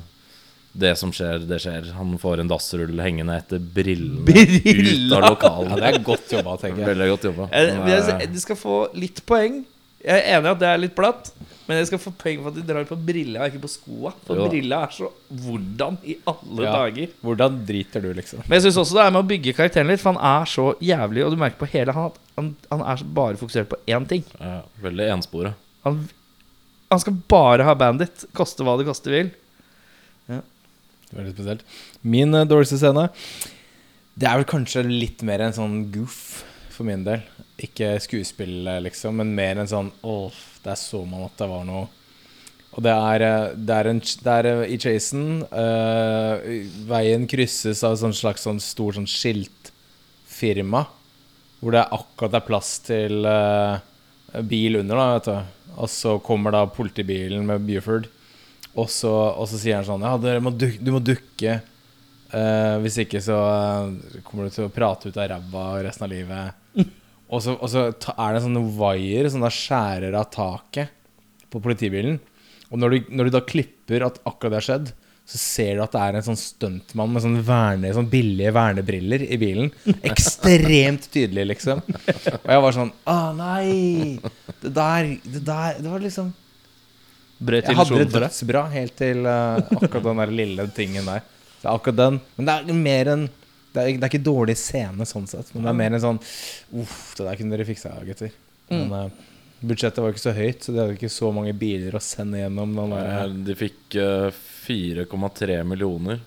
Speaker 2: Det som skjer, det skjer. Han får en dassrull hengende etter brillene ut av
Speaker 1: Brilla!
Speaker 4: Ja,
Speaker 2: lokalet.
Speaker 4: det er godt jobba, tenker jeg.
Speaker 2: Veldig godt jobba.
Speaker 1: Jeg,
Speaker 2: Den
Speaker 1: jeg,
Speaker 2: er-
Speaker 1: jeg, de skal få litt poeng. Jeg er enig i at det er litt platt, men jeg skal få poeng for at de drar på brilla, ikke på skoa. For
Speaker 2: Jo da.
Speaker 1: brilla er så hvordan i alle
Speaker 4: Ja.
Speaker 1: dager.
Speaker 4: Hvordan driter du, liksom?
Speaker 1: Men jeg syns også det er med å bygge karakteren litt, for han er så jævlig. Og du merker på hele han at han, han er så bare fokusert på én ting.
Speaker 2: ja, Veldig ensporet.
Speaker 1: Han, han skal bare ha Bandit, koste hva det koste vil.
Speaker 4: Veldig spesielt. Min eh, dårligste scene Det er vel kanskje litt mer en sånn goof for min del. Ikke skuespill, eh, liksom, men mer en sånn Åh, der så man at det var noe Og det er, eh, det er, en, ch- det er eh, i chasen eh, Veien krysses av sånn slags sånn stor sånn skiltfirma. Hvor det er akkurat det er plass til eh, bil under, da, vet du. Og så kommer da politibilen med Buford. Og så, og så sier han sånn Ja, dere må duk, du må dukke. Eh, hvis ikke så eh, kommer du til å prate ut av ræva resten av livet. og så, og så ta, er det sånne wire som da skjærer av taket på politibilen. Og når du, når du da klipper at akkurat det har skjedd, så ser du at det er en sånn stuntmann med sånn, verne, sånn billige vernebriller i bilen. Ekstremt tydelig, liksom. Og jeg var sånn Å, nei! Det der, det der Det var liksom
Speaker 1: Brøt
Speaker 4: jeg hadde det
Speaker 1: illusjonen for deg.
Speaker 4: dødsbra helt til eh, akkurat den der lille tingen der. Det er akkurat den. Men det er mer en det er, det er ikke dårlig scene sånn sett, men det er mer en sånn Uff, det der kunne dere fiksa, gutter.
Speaker 1: Mm.
Speaker 4: Men eh, budsjettet var jo ikke så høyt, så de hadde ikke så mange biler å sende gjennom. Den
Speaker 2: Eh,
Speaker 4: der,
Speaker 2: De fikk eh, 4,3 millioner,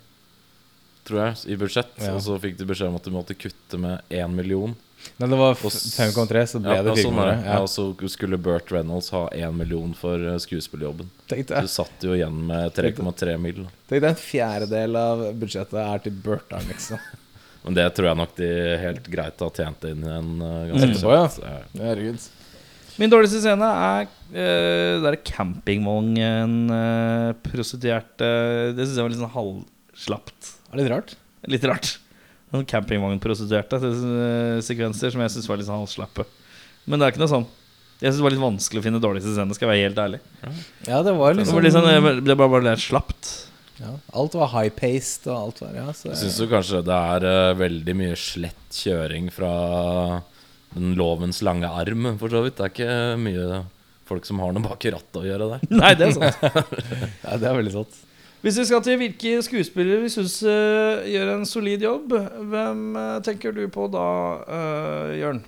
Speaker 2: tror jeg, i budsjett.
Speaker 4: Ja.
Speaker 2: Og så fikk de beskjed om at de måtte kutte med 1 million.
Speaker 4: Nei, det var f-
Speaker 2: Og s-
Speaker 4: 5,3, så ble
Speaker 2: Ja,
Speaker 4: det
Speaker 2: ja, sånn
Speaker 4: 4,3.
Speaker 2: er det. Ja, og så skulle Burt Reynolds ha 1 million for eh, skuespillerjobben.
Speaker 4: Tenkte
Speaker 2: Så
Speaker 4: jeg.
Speaker 2: du satt jo igjen med 3,3 mill. da.
Speaker 4: Tenk deg en fjerdedel av budsjettet er til Burton, liksom.
Speaker 2: Men det tror jeg nok de helt greit har tjent inn igjen. eh, ganske
Speaker 4: Etterpå, ja.
Speaker 2: kjapt. Ja.
Speaker 4: Herregud.
Speaker 1: Min dårligste scene er uh, der campingvognen eh, prostituert eh, Det syns jeg var litt sånn halvslapt.
Speaker 4: Det er litt rart.
Speaker 1: Litt rart. Sånn Campingvognprostituerte eh, sekvenser som jeg syns var litt sånn halvslappe. Men det er ikke noe sånn. Jeg syns det var litt vanskelig å finne dårligste scene, skal jeg være helt ærlig.
Speaker 4: Ja, det var
Speaker 1: Det
Speaker 4: liksom
Speaker 1: var litt sånn, eh, det var bare litt
Speaker 4: (laughs)
Speaker 1: slapt.
Speaker 4: ja, Alt var high-paced og alt var ja, så,
Speaker 2: Jeg syns jo kanskje det er eh, veldig mye slett kjøring fra den lovens lange arm, for så vidt. Det er ikke mye folk som har noe bak i rattet å gjøre der.
Speaker 1: Nei, det er sant.
Speaker 4: ja, det er veldig sånn. sant.
Speaker 1: Hvis vi skal til hvilke skuespillere vi syns gjør en solid jobb, hvem eh, tenker du på da, eh, Jørn?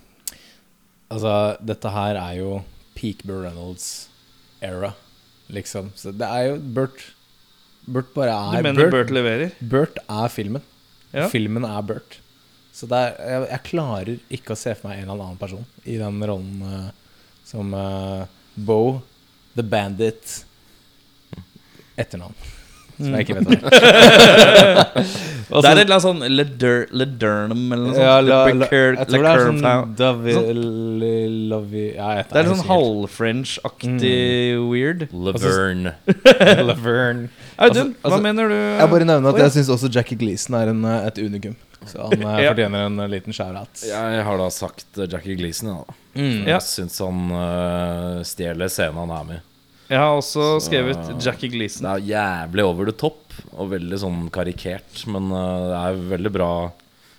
Speaker 4: Altså, dette her er jo peak Burr Reynolds era, liksom. Så det er jo Burt. Burt bare
Speaker 1: Du
Speaker 4: er
Speaker 1: mener Burt,
Speaker 4: Burt.
Speaker 1: leverer?
Speaker 4: Burt er filmen.
Speaker 1: Ja.
Speaker 4: Filmen er Burt. Så det er, jeg, jeg klarer ikke å se for meg en eller annen person i den rollen eh, som eh, Bo, The Bandit Etternavn. Som jeg ikke vet hva er.
Speaker 1: det er et eller annet sånn Leder, Ledernum eller noe sånt.
Speaker 4: (laughs) Ja, la, la,
Speaker 1: Lecur-
Speaker 4: jeg tror det er
Speaker 1: Lecurve
Speaker 4: sånn
Speaker 1: Town.
Speaker 4: Davi...
Speaker 1: Sånn-
Speaker 4: Lovi... Ja,
Speaker 1: Det er
Speaker 4: jeg vet jeg
Speaker 1: litt
Speaker 4: Mm.
Speaker 1: sånn
Speaker 4: husker
Speaker 1: halvfrench-aktig weird.
Speaker 2: Laverne.
Speaker 4: ikke. (laughs) Laverne.
Speaker 1: Audun,
Speaker 4: Altså- altså,
Speaker 1: hva mener du?
Speaker 4: Jeg bare nevner
Speaker 1: Oi.
Speaker 4: at jeg syns også Jackie Gleason er en, eh, et unikum. Så han eh,
Speaker 1: (laughs) Ja.
Speaker 4: fortjener en eh, liten shout-out. Mm.
Speaker 2: Jeg har da sagt eh, Jackie Gleason, ja, da.
Speaker 1: Ja.
Speaker 2: Jeg syns han eh, stjeler scenen han er med i.
Speaker 1: Jeg har også
Speaker 2: Så-
Speaker 1: skrevet Jackie Gleason.
Speaker 2: Det er jævlig over the top og veldig sånn karikert, men eh, det er veldig bra.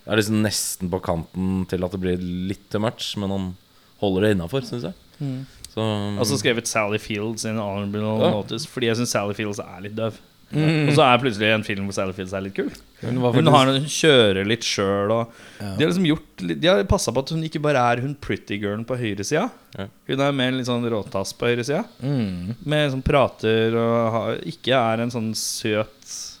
Speaker 2: Det er liksom nesten på kanten til at det blir litt too much, men han holder det innafor, syns jeg. Så
Speaker 1: Jeg har også skrevet Sally Fields in honorable
Speaker 2: Ja.
Speaker 1: notice fordi jeg syns Sally Fields er litt døv. Og så er plutselig en film hvor Sally Fields er litt kul.
Speaker 4: Hun var
Speaker 1: Hun,
Speaker 4: Mm. faktisk-
Speaker 1: har, hun kjører litt sjøl og
Speaker 4: Ja.
Speaker 1: De har liksom gjort litt- De har passa på at hun ikke bare er hun pretty girlen på høyresida.
Speaker 2: Ja.
Speaker 1: Hun er mer en litt sånn råtass på høyresida.
Speaker 4: Mm.
Speaker 1: Med sånn prater og har, ikke er en sånn søt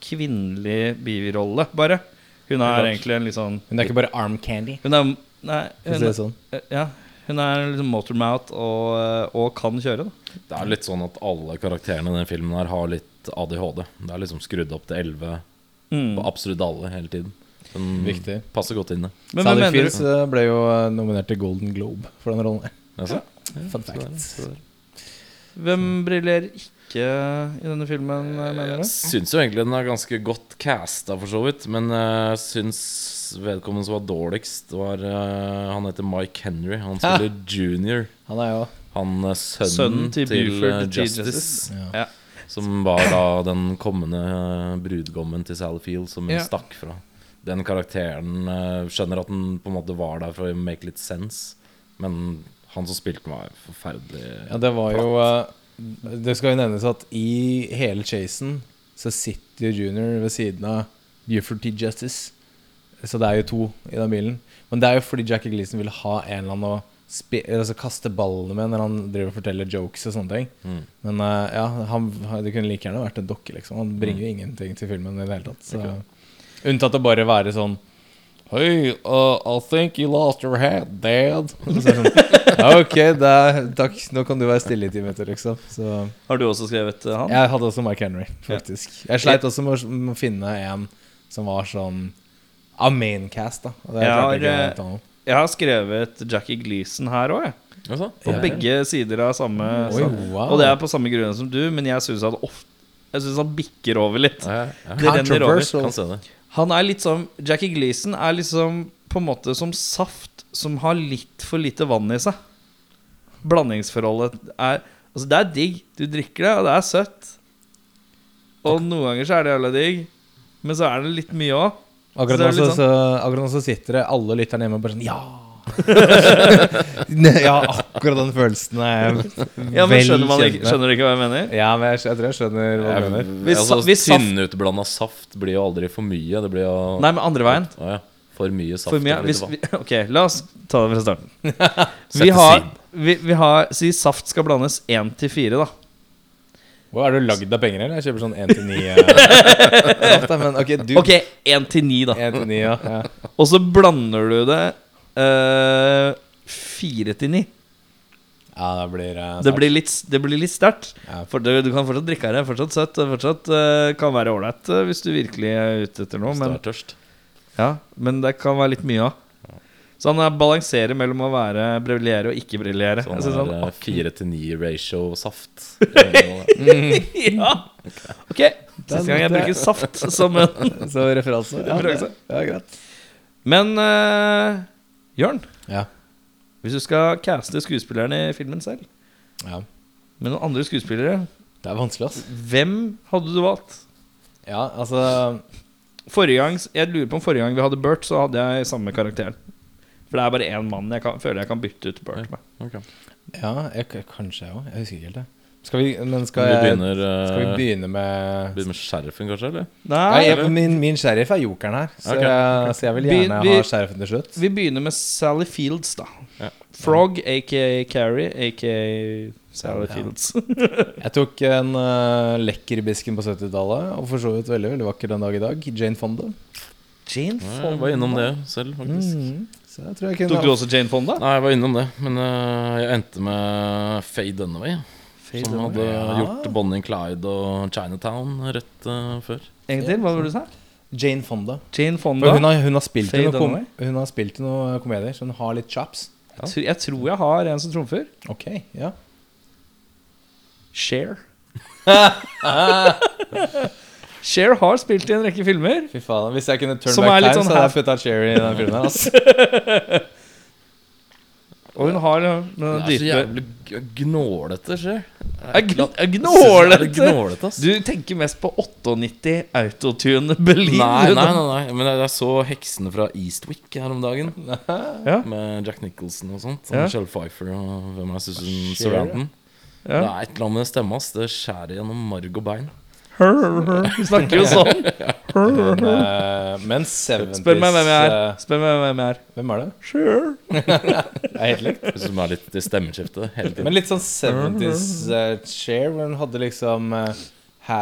Speaker 1: kvinnelig birolle, bare. Hun er egentlig en litt sånn
Speaker 4: Hun er ikke bare arm candy.
Speaker 1: Hun er Nei.
Speaker 4: for å si
Speaker 1: Hun,
Speaker 4: det sånn.
Speaker 1: Eh, ja, hun er liksom motormouth og, og kan kjøre, da.
Speaker 2: det er litt sånn at alle karakterene i den filmen her har litt ADHD. Det er liksom skrudd opp til 11
Speaker 1: Mm.
Speaker 2: på absolutt alle hele tiden. Den
Speaker 4: Viktig.
Speaker 2: passer godt inn, det.
Speaker 1: Men hvem
Speaker 4: Sally
Speaker 1: mener
Speaker 4: Fields
Speaker 1: du?
Speaker 4: eh, ble jo eh, nominert til Golden Globe for den rollen.
Speaker 2: Altså,
Speaker 4: Fun fact.
Speaker 1: Hvem briller ikke i denne filmen, eh, mener du?
Speaker 2: Jeg syns jo egentlig den er ganske godt casta, for så vidt. Men jeg syns vedkommende som var dårligst, var eh, Han heter Mike Henry. Han spiller junior.
Speaker 4: Han er jo
Speaker 2: Han eh, sønnen,
Speaker 1: Sønnen til
Speaker 2: til, eh,
Speaker 1: Buford T.
Speaker 2: Justice,
Speaker 1: Justice.
Speaker 4: ja.
Speaker 1: Ja.
Speaker 2: Som var da den kommende eh, brudgommen til Sally Field, som hun
Speaker 1: Ja.
Speaker 2: stakk fra. Den karakteren eh, skjønner at den på en måte var der for å make litt sense, men han som spilte den, var forferdelig
Speaker 4: Ja, det var jo eh, Det skal jo nevnes at i hele chasen så sitter jo Junior ved siden av Buford T. Justice. Så det er jo to i den bilen. Men det er jo fordi Jackie Gleason ville ha en eller annen å spi eller altså kaste ballene med når han driver og forteller jokes og sånne ting.
Speaker 2: Mm.
Speaker 4: Men eh, ja, han, det kunne like gjerne vært en dokke, liksom. Han bringer jo
Speaker 1: Mm.
Speaker 4: ingenting til filmen i det hele tatt. Så. Unntatt å bare være sånn Hey, uh, I think you lost your head, dad. (laughs) Og så er det sånn, «Ja, ok, det er, takk. Nå kan du være stille i ti minutter, liksom. Så
Speaker 1: Har du også skrevet eh, han?
Speaker 4: jeg hadde også Mark Henry, faktisk. Jeg sleit også med å med å finne en som var sånn av maincast, da. Og det
Speaker 1: Jeg
Speaker 4: klarte
Speaker 1: har,
Speaker 4: jeg ikke
Speaker 1: eh,
Speaker 4: å ta noe.
Speaker 1: Jeg har skrevet Jackie Gleason her òg, jeg.
Speaker 2: Altså,
Speaker 1: På
Speaker 4: Ja.
Speaker 1: begge sider av samme
Speaker 4: Oi,
Speaker 1: sam-
Speaker 4: wow.
Speaker 1: altså, Og det er på samme grunn som du, men jeg syns han ofte Jeg synes han bikker over litt.
Speaker 2: ja, ja, ja.
Speaker 1: Det renner over.
Speaker 4: Controversial.
Speaker 2: Kan se det.
Speaker 1: Han er litt som Jackie Gleason er liksom på en måte som saft som har litt for lite vann i seg. Blandingsforholdet er Altså, det er digg. Du drikker det, og det er søtt. Og noen ganger så er det jævla digg, men så er det litt mye òg.
Speaker 4: Akkurat
Speaker 1: Så det
Speaker 4: nå
Speaker 1: er
Speaker 4: så,
Speaker 1: litt
Speaker 4: så, akkurat nå så sitter det alle lytterne hjemme og bare sånn Ja! (laughs) Ne- ja, akkurat den følelsen er
Speaker 1: Ja, men
Speaker 4: vel
Speaker 1: skjønner, man ikke,
Speaker 4: kjent med.
Speaker 1: skjønner du ikke hva jeg mener?
Speaker 4: Ja, men jeg, jeg tror jeg skjønner hva du mener.
Speaker 1: Hvis
Speaker 2: altså,
Speaker 1: sa- hvis saft-
Speaker 2: Tynnutblanda saft blir jo aldri for mye. Det blir jo
Speaker 1: Nei, men andre veien.
Speaker 2: Å, ja. For mye saft.
Speaker 1: For mye,
Speaker 2: og lite
Speaker 1: hvis
Speaker 2: vann.
Speaker 1: vi, ok, la oss ta det fra
Speaker 2: (laughs)
Speaker 1: starten. Vi
Speaker 2: Sette
Speaker 1: har,
Speaker 2: siden.
Speaker 1: vi, vi har Si saft skal blandes 1 til 4, da.
Speaker 4: Hva er du lagd av penger, eller? Jeg kjøper sånn 1 til 9. (laughs) Eh, saft, da, men ok, du.
Speaker 1: Ok, 1 til 9, da.
Speaker 4: 1 til 9, ja. ja.
Speaker 1: Og så blander du det eh, 4 til 9.
Speaker 4: Ja, det blir eh,
Speaker 1: Det
Speaker 4: saft.
Speaker 1: blir litt, det blir litt sterkt.
Speaker 4: Ja.
Speaker 1: For du, du kan fortsatt drikke av det. Fortsatt søtt. det Fortsatt eh, kan være ålreit eh, hvis du virkelig er ute etter noe.
Speaker 2: Hvis
Speaker 1: Men,
Speaker 2: du er tørst.
Speaker 1: ja, men det kan være litt mye av. Så han er- balanserer mellom å være briljere og ikke briljere.
Speaker 2: Sånn
Speaker 1: Jeg synes
Speaker 2: er
Speaker 1: han-
Speaker 2: eh, fire til ni ratio saft. Eh,
Speaker 1: ja. Ok, siste gang jeg bruker saft som en (laughs)
Speaker 4: Så referanse. Ja, det, ja greit.
Speaker 1: Men eh, Jørn,
Speaker 4: Ja.
Speaker 1: hvis du skal caste skuespillerne i filmen selv
Speaker 4: ja.
Speaker 1: med noen andre skuespillere,
Speaker 4: Det er vanskelig, ass.
Speaker 1: hvem hadde du valgt?
Speaker 4: Ja, altså
Speaker 1: Forrige gang, jeg lurer på om forrige gang vi hadde Bert, så hadde jeg samme karakteren. For det er bare én mann jeg kan, føler jeg kan bytte ut Bert med.
Speaker 2: ok.
Speaker 4: Ja, jeg, k- kanskje jeg òg. Jeg husker ikke helt, det. Skal vi, men skal,
Speaker 2: Vi
Speaker 4: jeg,
Speaker 2: begynner, eh,
Speaker 4: skal vi begynne med
Speaker 2: begynner med sheriffen, kanskje? eller?
Speaker 1: Nei,
Speaker 4: Nei, jeg, min, min sheriff er jokeren her, så,
Speaker 2: Ok,
Speaker 4: jeg, så jeg vil gjerne
Speaker 1: Vi- vi-
Speaker 4: ha sheriffen til slutt.
Speaker 1: vi begynner med Sally Fields, da.
Speaker 2: Ja.
Speaker 1: Frog, aka Carrie, aka Sally
Speaker 4: Ja.
Speaker 1: Fields.
Speaker 4: Jeg tok en uh, lekkerbisken på 70-tallet, og for så vidt veldig veldig vakker den dag i dag. Jane Fonda.
Speaker 1: (laughs) Jane
Speaker 2: Ja, Jeg var innom det selv, faktisk.
Speaker 1: Mm.
Speaker 4: Så jeg tror jeg kunne
Speaker 1: Tok du også Jane Fonda?
Speaker 2: Nei, jeg var innom det, men eh, jeg endte med Faye Dunaway.
Speaker 1: Faye
Speaker 2: som hadde gjort Bonnie and Clyde og Chinatown rett eh, før.
Speaker 1: En til, hva var det du sa?
Speaker 4: Jane Fonda.
Speaker 1: Jane
Speaker 4: For
Speaker 1: Fonda.
Speaker 4: hun, har, hun, har spilt i
Speaker 1: Faye
Speaker 4: noen kom,
Speaker 1: Dunaway?
Speaker 4: hun har spilt i noen eh, komedier, så hun har litt chops.
Speaker 1: Jeg tror- Jeg tror jeg har en som trumfer.
Speaker 4: Ok, ja
Speaker 2: (laughs)
Speaker 1: Cher. Cher har spilt i en rekke filmer.
Speaker 4: Fy faen, Hvis jeg kunne turn
Speaker 1: Som
Speaker 4: back
Speaker 1: er litt
Speaker 4: time,
Speaker 1: sånn
Speaker 4: så hadde jeg
Speaker 1: half-
Speaker 4: putta Cherry i den filmen. her (laughs) ass.
Speaker 1: Og hun har eh,
Speaker 2: Det
Speaker 1: den
Speaker 2: er så
Speaker 1: dype
Speaker 2: jævlig g- gnålete, skjer.
Speaker 1: Er gn- er
Speaker 2: Det er
Speaker 1: Gnålete!
Speaker 2: gnålete, ass.
Speaker 1: Du tenker mest på 98 autotune Berlin.
Speaker 2: Nei,
Speaker 1: du,
Speaker 2: nei,
Speaker 1: da.
Speaker 2: nei, nei. Men jeg, jeg så 'Heksene fra Eastwick' her om dagen.
Speaker 1: (laughs) Ja.
Speaker 2: Med Jack Nicholson og sånt.
Speaker 1: Ja.
Speaker 2: Og Michelle Pfeiffer og hvem er Susan
Speaker 4: skjer,
Speaker 2: Sarandon.
Speaker 1: Ja.
Speaker 2: Det er et eller annet med den stemma. ass. Det skjærer gjennom marg og bein.
Speaker 1: Hør, hør, hør. Hun snakker jo sånn. Hør, hør, hør.
Speaker 4: Eh, Men 70s
Speaker 1: Spør meg hvem jeg er.
Speaker 4: eh,
Speaker 1: Spør meg hvem jeg er.
Speaker 4: Hvem er det?
Speaker 1: Sure.
Speaker 4: Det er helt likt.
Speaker 2: Som er litt i stemmeskiftet hele
Speaker 1: (laughs)
Speaker 2: tiden.
Speaker 4: Men litt sånn 70s eh, chair, hvor hun hadde liksom eh,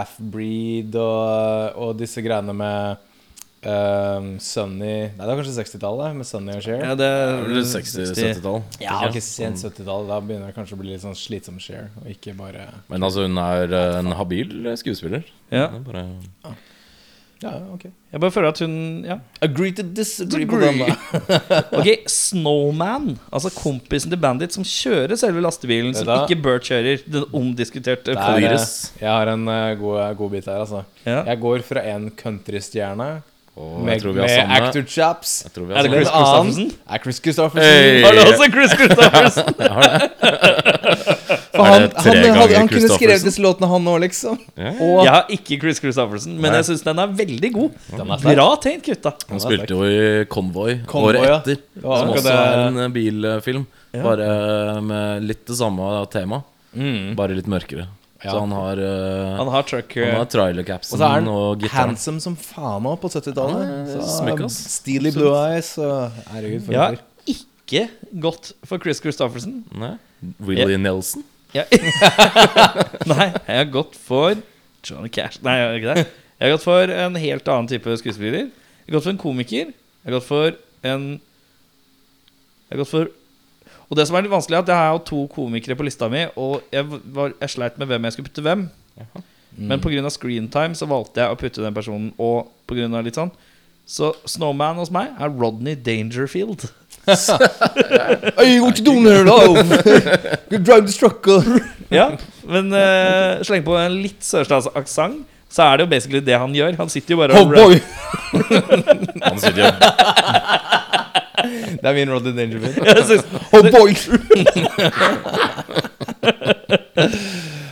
Speaker 4: half-breed og, eh, og disse greiene med eh, Sunny Nei, det var kanskje 60-tallet, med Sunny og Cher.
Speaker 1: Ja, det
Speaker 2: Det er vel 60-, 70-tall.
Speaker 4: Ja, ikke sent 70-tallet. Da begynner det kanskje å bli litt sånn slitsom Cher, og ikke bare
Speaker 2: Men altså, hun er eh, en habil skuespiller.
Speaker 1: Ja.
Speaker 2: Det er bare
Speaker 4: Ja, ok.
Speaker 1: Jeg bare føler at hun Ja.
Speaker 4: Agree to disagree på den, da.
Speaker 1: (laughs) Ok, Snowman, altså kompisen til Bandit som kjører selve lastebilen, som
Speaker 4: Vet du hva?
Speaker 1: ikke Bert kjører. Den omdiskuterte
Speaker 4: Det er, eh,
Speaker 2: Flyres.
Speaker 4: jeg har en eh, god, god bit her, altså.
Speaker 1: Ja.
Speaker 4: Jeg går fra en countrystjerne
Speaker 2: Og jeg
Speaker 4: med,
Speaker 2: tror vi har
Speaker 4: med
Speaker 2: samme.
Speaker 4: actor chops
Speaker 2: Jeg tror vi
Speaker 1: Er
Speaker 2: har
Speaker 1: det Chris
Speaker 2: samme.
Speaker 4: En annen
Speaker 1: Christoffersen?
Speaker 4: Er Chris Christoffersen.
Speaker 2: Hey!
Speaker 1: Har du også Chris Christoffersen?
Speaker 4: For
Speaker 2: Er
Speaker 4: han,
Speaker 2: det tre
Speaker 4: han, han,
Speaker 2: ganger
Speaker 4: han kunne skrevet
Speaker 2: Christoffersen?
Speaker 4: disse låtene, han òg, liksom.
Speaker 2: Ja, (laughs) ja.
Speaker 4: Og
Speaker 1: Jeg har ikke Chris Christoffersen, men jeg syns den er veldig god. Bra tenkt, gutta.
Speaker 2: Han spilte jo i Convoy,
Speaker 4: Convoy,
Speaker 2: året
Speaker 4: ja.
Speaker 2: etter,
Speaker 4: Det var
Speaker 2: som
Speaker 4: akkurat
Speaker 2: også
Speaker 4: det-
Speaker 2: er en eh, bilfilm. Bare med litt det samme tema, bare litt mørkere. Så
Speaker 4: Mm. Ja.
Speaker 2: han har, eh,
Speaker 1: Han har truck
Speaker 2: han har
Speaker 1: eh,
Speaker 4: og så er
Speaker 2: trailercapsen
Speaker 4: han
Speaker 2: og gitaren.
Speaker 4: handsome som faen òg, på 70-tallet. Så,
Speaker 2: Ja,
Speaker 4: um,
Speaker 2: smykk, ass.
Speaker 4: Steely blue eyes og Herregud, for
Speaker 1: Jeg har
Speaker 4: en fyr.
Speaker 1: ikke gått for Chris Christoffersen.
Speaker 2: Nei. Willie
Speaker 4: (laughs)
Speaker 2: Nelson.
Speaker 1: Jeg... Nei, jeg har gått for Johnny Cash. Nei, jeg har ikke det. Jeg har gått for en helt annen type skuespiller. Jeg har gått for en komiker. Jeg har gått for en Jeg har gått for Og det som er litt vanskelig, er at jeg har jo to komikere på lista mi, og jeg, var, jeg sleit med hvem jeg skulle putte hvem. Men pga. screentime så valgte jeg å putte den personen, og på grunn av litt sånn Så Snowman hos meg er Rodney Dangerfield.
Speaker 4: Hey, what you doing here, (laughs) though? You drive this truck, (laughs) uh.
Speaker 1: Ja, men eh, sleng på en litt sørstatsaksent, så er det jo basically det han gjør. Han sitter jo bare
Speaker 4: Oh,
Speaker 1: og
Speaker 4: boy.
Speaker 2: Han sitter jo
Speaker 4: Det er min Roddy Dangerfield.
Speaker 1: (laughs) Jeg synes-
Speaker 4: (laughs) Oh, (laughs) boy.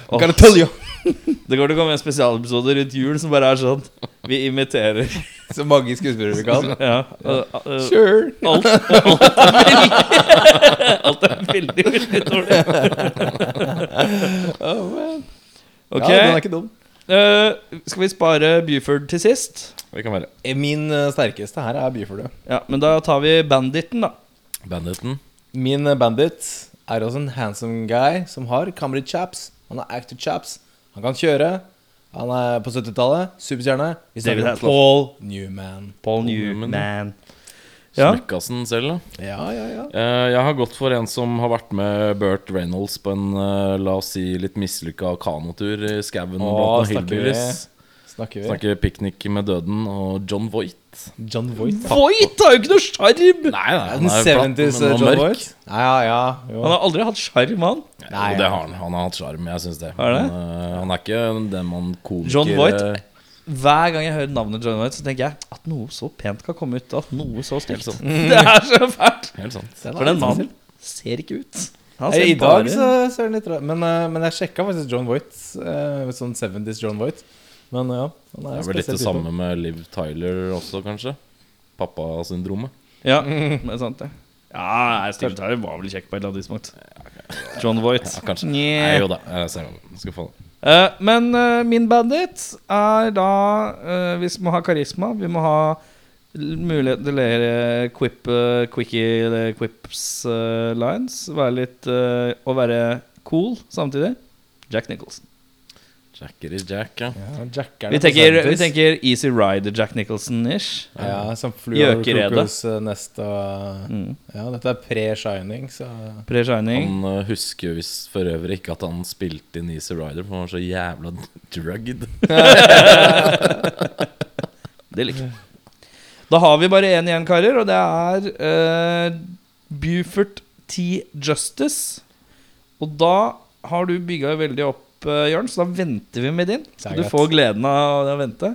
Speaker 4: Oh. Gotta tell you.
Speaker 1: Det går til å komme en spesialepisode rundt jul som bare er sånn Vi imiterer.
Speaker 4: (laughs) (laughs) Så mange skuespillere vi kan.
Speaker 1: Ja, eh, eh,
Speaker 4: (laughs) Sure.
Speaker 1: alt, alt, er veldig, alt er (laughs) veldig, veldig
Speaker 4: (laughs)
Speaker 1: dårlig.
Speaker 4: Oh, man. Ja, den er
Speaker 1: Ok,
Speaker 4: ikke dum.
Speaker 1: eh, skal vi spare Buford til sist?
Speaker 4: Det kan være. Eh, Min eh, sterkeste her er byfugl.
Speaker 1: Ja, Men da tar vi banditten, da.
Speaker 2: Banditen.
Speaker 4: Min eh, bandit er også en handsome guy som har camera chaps. Han har actor chaps. Han kan kjøre. Han er på 70-tallet. Superstjerne. Vi
Speaker 1: David
Speaker 4: snakker om
Speaker 1: Hasselhoff.
Speaker 4: Paul Newman.
Speaker 1: Paul
Speaker 2: Newman, ja.
Speaker 1: Newman. Ja.
Speaker 2: Smøkkasen selv, da.
Speaker 4: Ja, ja, ja.
Speaker 2: Eh, Jeg har gått for en som har vært med Burt Reynolds på en eh, la oss si litt mislykka kanotur i skauen
Speaker 4: Å,
Speaker 2: blant noen
Speaker 4: snakker vi.
Speaker 2: hillbillies.
Speaker 4: Snakker vi.
Speaker 2: Snakker piknik med døden og John Voight.
Speaker 4: John Voight.
Speaker 1: Voight har jo ikke noe sjarm!
Speaker 2: Nei, nei,
Speaker 4: Den 70s
Speaker 2: men han
Speaker 4: eh, John
Speaker 2: er mørk.
Speaker 4: Voight. Ja, ja, ja. Jo.
Speaker 1: Han har aldri hatt sjarm, han.
Speaker 4: Nei,
Speaker 2: jo, det har han. Han har hatt sjarm, jeg syns det.
Speaker 1: Har det?
Speaker 2: Men, eh, han er ikke den man komiker
Speaker 1: John Voight?
Speaker 2: eh,
Speaker 1: Hver gang jeg hører navnet John Voight, så tenker jeg at noe så pent kan komme ut av noe så stygt. (laughs) Det er så fælt!
Speaker 2: Helt sant.
Speaker 4: Den er
Speaker 1: Mm. For den
Speaker 4: litt
Speaker 1: mannen ser ikke ut. Han
Speaker 4: Eh,
Speaker 1: ser
Speaker 4: I dag
Speaker 1: bare-
Speaker 4: så ser den litt rar men, eh, men jeg sjekka faktisk John Voight. eh, sånn 70s John Voight. Men ja, han er en
Speaker 2: Det er vel litt
Speaker 4: spesiell
Speaker 2: det
Speaker 4: type.
Speaker 2: samme med Liv Tyler også, kanskje. Pappasyndromet.
Speaker 1: Ja, det er sant, det. Ja, nei, Steven Tyler var vel kjekk på et eller annet tidspunkt. John Voight.
Speaker 2: Ja, kanskje.
Speaker 1: Nja.
Speaker 2: Nei, jo da. Jeg ser hva jeg skal få. det.
Speaker 1: Eh, men eh, min bandit er da eh, Vi må ha karisma. Vi må ha l- mulighet til å lære quip, eh, quickie eller quips eh, lines. Være litt eh, Å være cool samtidig. Jack Nicholson.
Speaker 2: Jackery Jack, ja.
Speaker 4: Ja, Jack er
Speaker 1: Vi
Speaker 4: det på
Speaker 1: tenker,
Speaker 4: 70s.
Speaker 1: vi tenker Easy Rider Jack Nicholson-ish.
Speaker 4: ja, Som Flu over
Speaker 1: Gjøkeredet.
Speaker 4: Krokos eh, nest og
Speaker 1: Mm.
Speaker 4: Ja, dette er pre-Shining, så
Speaker 1: Pre-shining.
Speaker 2: Han eh, husker jo visst for øvrig ikke at han spilte inn Easy Rider, for han var så jævla (laughs) drugged.
Speaker 1: Det liker jeg. Da har vi bare én igjen, karer, og det er eh, Buford T. Justice. Og da har du bygga veldig opp, eh, Jørn, så da venter vi med din.
Speaker 4: er
Speaker 1: Så du
Speaker 4: greit.
Speaker 1: får gleden av å vente.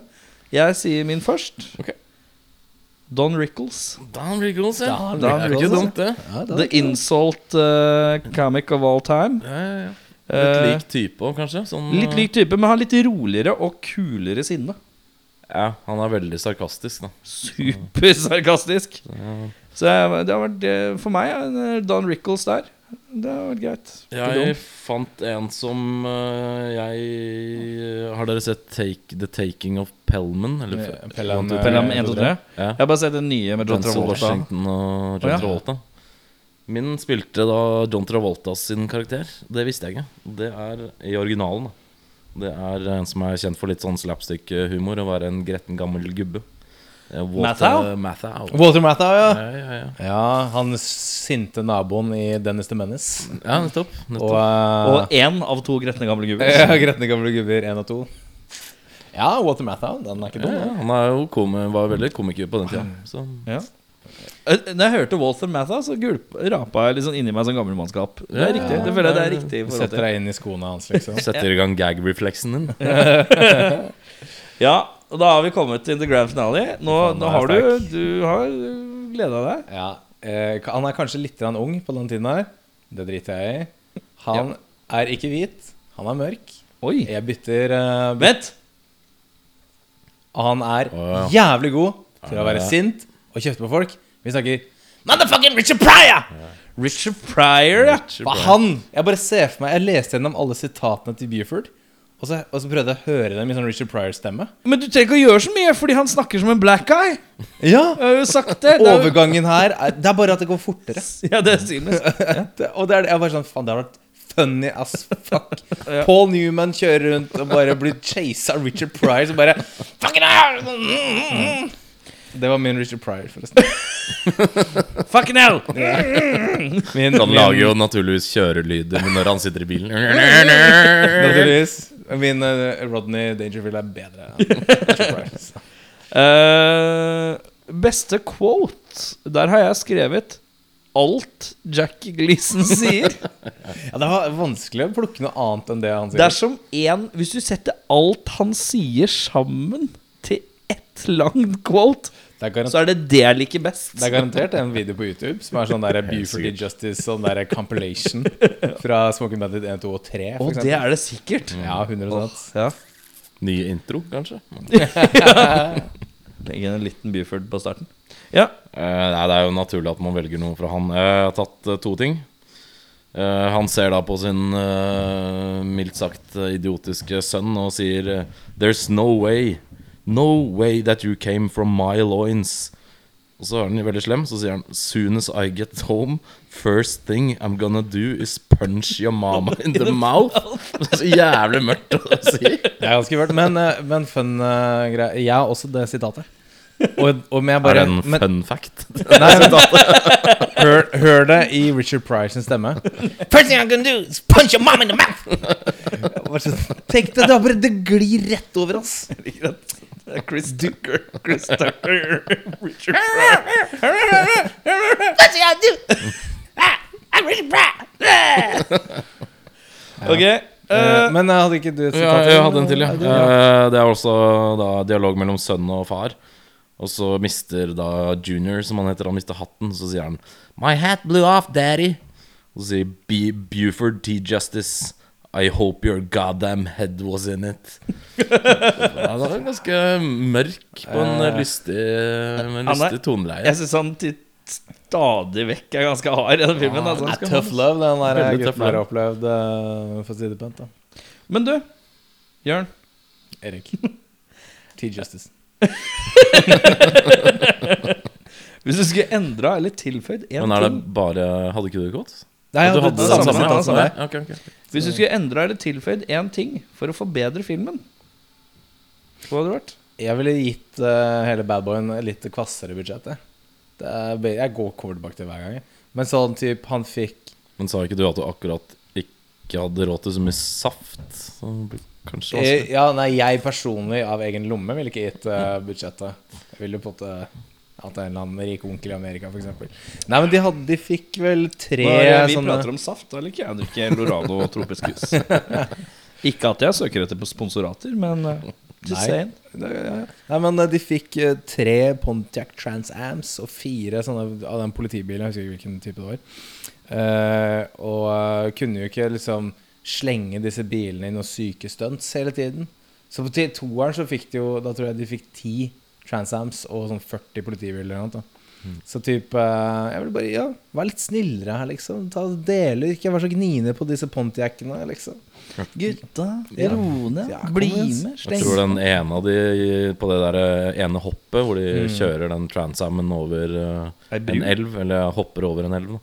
Speaker 1: Jeg sier min først.
Speaker 4: Ok.
Speaker 1: Don Rickles.
Speaker 2: Dan Riggles, ja.
Speaker 4: Dan
Speaker 2: Det er jo ikke
Speaker 4: Riggles,
Speaker 2: dumt, det.
Speaker 4: ja, da-
Speaker 1: The insult eh, comic of all time.
Speaker 2: Ja, ja, ja. Litt
Speaker 1: Eh,
Speaker 2: lik type òg, kanskje. Sånn,
Speaker 1: litt lik type, men har litt roligere og kulere sinne.
Speaker 2: eh, Ja, han er veldig sarkastisk, da.
Speaker 1: Supersarkastisk. Så jeg, det har vært eh, For meg er det Don Rickles der. Det har vært greit. Ikke
Speaker 2: Jeg
Speaker 1: dumt.
Speaker 2: fant en som eh, jeg Har dere sett Take, The Taking of Pelman? Eller,
Speaker 4: Ja, Pelham,
Speaker 2: Ja,
Speaker 1: Pelham 1, 2, 3.
Speaker 2: Ja.
Speaker 1: Jeg har bare sett den nye med John
Speaker 2: Denzel
Speaker 1: Travolta.
Speaker 2: Washington og
Speaker 1: Å, ja.
Speaker 2: John Travolta. Min spilte da John Travoltas sin karakter. Det visste jeg ikke. Det er i originalen. da. Det er en som er kjent for litt sånn slapstick-humor. Å være en gretten gammel gubbe. Eh, Walter- Matthau.
Speaker 4: Walter Matthau, ja.
Speaker 2: Ja, ja, ja.
Speaker 4: Ja, han sinte naboen i Dennis the Menace.
Speaker 2: ja, nettopp.
Speaker 4: Og,
Speaker 2: nettopp.
Speaker 4: eh,
Speaker 1: Og én av to gretne gamle gubber.
Speaker 4: ja, Gretne gamle gubber 1 og 2. Ja, Walter Matthau. Den er ikke
Speaker 2: Ja,
Speaker 4: dum.
Speaker 2: ja,
Speaker 4: den.
Speaker 2: han er jo kom, var veldig komiker på den tida. Så
Speaker 1: Ja. Eh, Når jeg hørte Walter Matha, så gulp, rapa jeg litt sånn inni meg som gammelmannskap. Det
Speaker 2: Ja,
Speaker 1: er riktig.
Speaker 2: ja,
Speaker 1: Det føler jeg det er
Speaker 2: ja.
Speaker 1: riktig. i forhold
Speaker 4: Setter
Speaker 1: til-
Speaker 4: deg inn i skoene hans, liksom.
Speaker 2: setter i gang gag-refleksen din.
Speaker 1: (laughs) Ja, og da har vi kommet til the grand finale. Nå, nå
Speaker 2: Faen, det er
Speaker 1: har du
Speaker 2: sterk.
Speaker 1: Du har gleda deg.
Speaker 4: Ja, eh, ka- Han er kanskje litt grann ung på den tiden her. Det driter jeg i. Han er ikke hvit. Han er mørk.
Speaker 1: Oi.
Speaker 4: Jeg bytter eh, byt-
Speaker 1: Vent!
Speaker 4: Og han er
Speaker 2: Å,
Speaker 4: jævlig god til å
Speaker 2: Er det
Speaker 4: være
Speaker 2: det?
Speaker 4: sint og kjefte på folk. Vi snakker Motherfucking Richard Pryor!
Speaker 1: Richard Pryor, ja.
Speaker 2: Richard
Speaker 4: Hva
Speaker 2: Pryor.
Speaker 4: han? Jeg bare ser for meg Jeg leste gjennom alle sitatene til Buford, og så, og så prøvde jeg å høre dem i sånn Richard Pryor-stemme.
Speaker 1: Men du trenger ikke å gjøre så mye, fordi han snakker som en black guy.
Speaker 4: Ja,
Speaker 1: Jeg har jo sagt
Speaker 4: (laughs)
Speaker 1: det. det
Speaker 2: (laughs)
Speaker 1: er jo-
Speaker 4: Overgangen her er, Det er bare at det går fortere. (laughs)
Speaker 1: (laughs) Ja, det er seamless.
Speaker 4: Det, og det er, jeg var sånn Faen, det har vært funny as (laughs) fuck. Paul Newman kjører rundt og bare blir chasa av Richard Pryor, så bare Fuck it out! Det var min Richard Pryor, forresten.
Speaker 1: Fucking hell!
Speaker 4: (laughs) Min,
Speaker 2: Han
Speaker 4: min,
Speaker 2: lager jo naturligvis kjørelyder når han sitter i
Speaker 1: (laughs)
Speaker 2: bilen.
Speaker 4: naturligvis. Min eh, Rodney Dangerfield er bedre enn Richard (laughs) Pryor. så.
Speaker 1: Eh, beste quote. Der har jeg skrevet alt Jack
Speaker 4: (laughs)
Speaker 1: Gleason sier.
Speaker 4: Ja, det var vanskelig å plukke noe annet enn det han sier.
Speaker 1: Dersom én Hvis du setter alt han sier, sammen til ett langt quote,
Speaker 4: Det er, garantert,
Speaker 1: så er det det jeg liker best.
Speaker 4: det er garantert en video på YouTube som er sånn (laughs) der Buford
Speaker 2: sikkert.
Speaker 4: Justice, sånn der (laughs) compilation fra Smoking Bandit 1, 2 og 3. for
Speaker 1: Og
Speaker 4: eksempel.
Speaker 1: det er det sikkert.
Speaker 4: Ja, 100
Speaker 1: Ja.
Speaker 2: Ny intro, kanskje?
Speaker 1: Legg inn en liten Buford på starten. Ja.
Speaker 2: Eh, nei, det er jo naturlig at man velger noe fra han. Eh, jeg har tatt eh, to ting. Eh, han ser da på sin eh, mildt sagt eh, idiotiske sønn og sier eh, There's no way No way that you came from my loins. Og så er den veldig slem, så sier han Soon as I get home, first thing I'm gonna do is punch your mama in the mouth. Så jævlig mørkt å si.
Speaker 4: Det er ganske mørkt, men, eh, men fun eh, greie. Jeg har også det sitatet. Og, og men jeg
Speaker 2: Er
Speaker 4: bare
Speaker 2: det en
Speaker 4: men-
Speaker 2: fun fact?
Speaker 4: Nei, men, (laughs) hør, hør det i Richard Pryor sin stemme. First thing I'm gonna do is punch your mom in the mouth!
Speaker 1: (laughs)
Speaker 4: Jeg bare sånn, Tenk deg, det, er bare, det glir rett
Speaker 1: (laughs)
Speaker 4: over, ass.
Speaker 1: Chris Tucker.
Speaker 4: (laughs)
Speaker 1: Chris Tucker. Richard
Speaker 4: Ah,
Speaker 1: Ok.
Speaker 4: Eh,
Speaker 1: eh,
Speaker 4: men jeg hadde ikke du et
Speaker 2: Ja,
Speaker 4: sitat?
Speaker 2: jeg hadde en til, ja.
Speaker 4: du, ja.
Speaker 2: Eh, Det er også da dialog mellom sønn og far. Og så mister da Junior, som han heter, han mister hatten. Så sier han 'My hat blew off, daddy'. Og så sier B Buford T. Justice 'I hope your goddamn head was in it'. (laughs) Ja, det er ganske mørk på en
Speaker 4: Eh,
Speaker 2: lystig, med en
Speaker 1: han er-
Speaker 2: lystig toneleie.
Speaker 1: Jeg syns han til stadig vekk er ganske hard i den filmen. altså.
Speaker 4: Det er tough love, den der eh,
Speaker 2: Veldig tough
Speaker 4: gutten har
Speaker 2: love.
Speaker 4: opplevd, eh, for å si det pent. da
Speaker 1: Men du, Jørn.
Speaker 4: Erik.
Speaker 2: (laughs)
Speaker 4: T-Justice.
Speaker 1: Hvis du skulle endra eller tilføyd én
Speaker 2: Men er det
Speaker 1: ting
Speaker 2: bare Hadde ikke du det godt?
Speaker 4: Nei,
Speaker 2: du hadde det samme?
Speaker 1: samme,
Speaker 2: samme,
Speaker 1: samme.
Speaker 2: Ja, ok, ok.
Speaker 1: Hvis du skulle endra eller tilføyd én ting for å forbedre filmen, hva hadde det vært?
Speaker 4: Jeg ville gitt eh, hele Badboyen litt kvassere budsjett. jeg. Det er, be- jeg går quarterback til hver gang. jeg. Men sånn type han fikk
Speaker 2: Men sa ikke du at du akkurat ikke hadde råd til så mye saft? Så det blir kanskje
Speaker 4: eh,
Speaker 2: vanskelig.
Speaker 4: Ja, nei, jeg personlig av egen lomme ville ikke gitt eh, budsjettet. Jeg ville på en måte hatt en eller annen rik onkel i Amerika, f.eks. Nei, men de, hadde, de fikk vel tre
Speaker 1: vi
Speaker 4: sånne
Speaker 1: prater om saft, da liker jeg ikke Lorado og tropisk hus. (laughs) ikke at jeg søker etter på sponsorater, men eh, just
Speaker 4: Nei.
Speaker 1: saying.
Speaker 4: Nei, men eh, de fikk eh, tre Pontiac Transams og fire sånne av den politibilen. Jeg husker ikke hvilken type det var. Eh, og eh, kunne jo ikke liksom slenge disse bilene i noen syke stunts hele tiden. Så på ti- toeren så fikk de jo Da tror jeg de fikk ti Transams og sånn 40 politibiler eller noe. Da. Så type eh, Jeg vil bare Ja, vær litt snillere her, liksom. Ta Dele, ikke vær så gniende på disse Pontiacene, liksom.
Speaker 1: Gutta,
Speaker 4: Ja.
Speaker 1: ro ned.
Speaker 4: Ja, kom
Speaker 1: bli
Speaker 4: igjen.
Speaker 1: med.
Speaker 2: Jeg
Speaker 1: Sleng.
Speaker 2: tror den ene av de på det der eh, ene hoppet hvor de
Speaker 4: Mm.
Speaker 2: kjører den transamen over eh,
Speaker 1: Ei bru.
Speaker 2: en elv, eller hopper over en elv, da.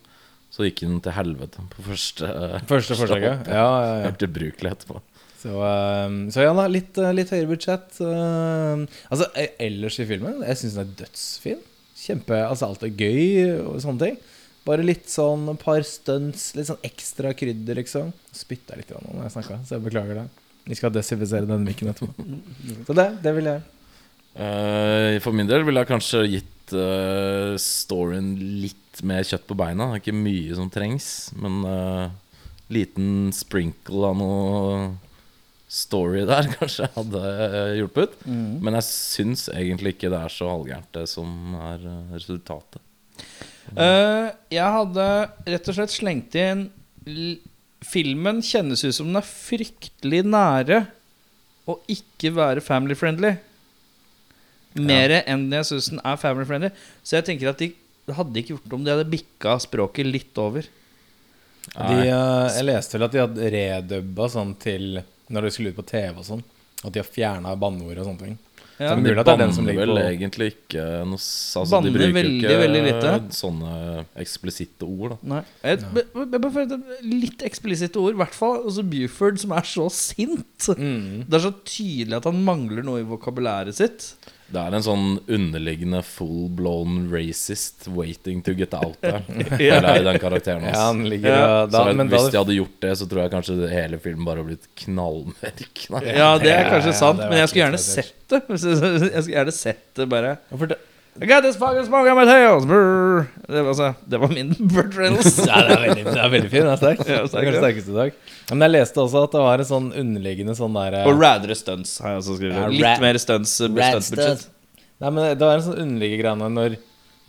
Speaker 2: så gikk den til helvete på første, eh,
Speaker 4: Første forsøket.
Speaker 2: hopp.
Speaker 4: Ja, (laughs) ja, ja.
Speaker 2: Helt ubrukelig etterpå.
Speaker 4: Så, eh, så ja da, litt, eh, litt høyere budsjett. eh, altså eh, ellers i filmen, jeg syns den er dødsfin. Kjempe, altså Alt er gøy og sånne ting. Bare litt sånn et par stunts, litt sånn ekstra krydder, liksom. Spytta jeg litt grann nå når jeg snakka, så jeg beklager det. Vi skal desinfisere denne mikken etterpå. Så det, det vil jeg.
Speaker 2: Eh, for min del ville jeg kanskje gitt eh, storyen litt mer kjøtt på beina. Det er Ikke mye som trengs, men eh, liten sprinkle av noe story der (laughs) kanskje hadde eh, hjulpet.
Speaker 1: Mm.
Speaker 2: Men jeg syns egentlig ikke det er så halvgærent, det som er eh, resultatet.
Speaker 1: Eh, jeg hadde rett og slett slengt inn l- Filmen kjennes ut som den er fryktelig nære å ikke være family friendly. Mer enn jeg syns den er family friendly. Så jeg tenker at de det hadde ikke gjort om de hadde bikka språket litt over.
Speaker 4: De, eh, jeg leste vel at de hadde redubba sånn til når det skulle ut på TV og sånn. At de har fjerna banneord og sånne ting.
Speaker 1: Ja.
Speaker 4: Men
Speaker 2: de
Speaker 4: mulig at det er den som
Speaker 2: banner
Speaker 4: ligger
Speaker 2: vel
Speaker 4: på-
Speaker 2: egentlig ikke noe s- altså,
Speaker 1: Banner veldig, veldig lite.
Speaker 2: sånne eksplisitte ord, da.
Speaker 1: Nei. Jeg, be- be- be- bare for et litt eksplisitte ord, i hvert fall. Altså Buford, som er så sint.
Speaker 2: Mm.
Speaker 1: Det er så tydelig at han mangler noe i vokabulæret sitt.
Speaker 2: Det er en sånn underliggende full-blown racist waiting to get out
Speaker 1: (laughs)
Speaker 2: der.
Speaker 1: Ja.
Speaker 2: Eller er det den karakteren
Speaker 4: Ja,
Speaker 2: hans.
Speaker 4: han ligger
Speaker 1: Ja.
Speaker 4: og- da,
Speaker 2: så
Speaker 4: men da
Speaker 2: hvis
Speaker 4: hadde-
Speaker 2: de hadde gjort det, så tror jeg kanskje det hele filmen bare hadde blitt knallmørk. Nei.
Speaker 1: Ja, det er kanskje
Speaker 4: ja,
Speaker 1: sant,
Speaker 4: det
Speaker 1: men
Speaker 4: var
Speaker 1: jeg skulle gjerne
Speaker 4: litt
Speaker 1: sett det. (laughs) Jeg skulle gjerne sett det bare
Speaker 4: For det-
Speaker 1: I got this fucking smoke on my tails brr. det, var altså, det var min (laughs) Burt
Speaker 4: (laughs)
Speaker 1: Reynolds.
Speaker 4: Ja, det er veldig, det er veldig fin. Den er sterk.
Speaker 1: Ja, sterk,
Speaker 4: den
Speaker 1: ja.
Speaker 4: sterkeste i dag. Ja, Men jeg leste også at det var en sånn underliggende sånn der eh,
Speaker 1: Og radere stunts. Har jeg også skrevet.
Speaker 4: Ja,
Speaker 1: Litt
Speaker 4: rad-
Speaker 1: mer stunts. eh,
Speaker 4: Rad
Speaker 1: stuntbudsjett.
Speaker 4: Nei, men det var en sånn underliggende greie når,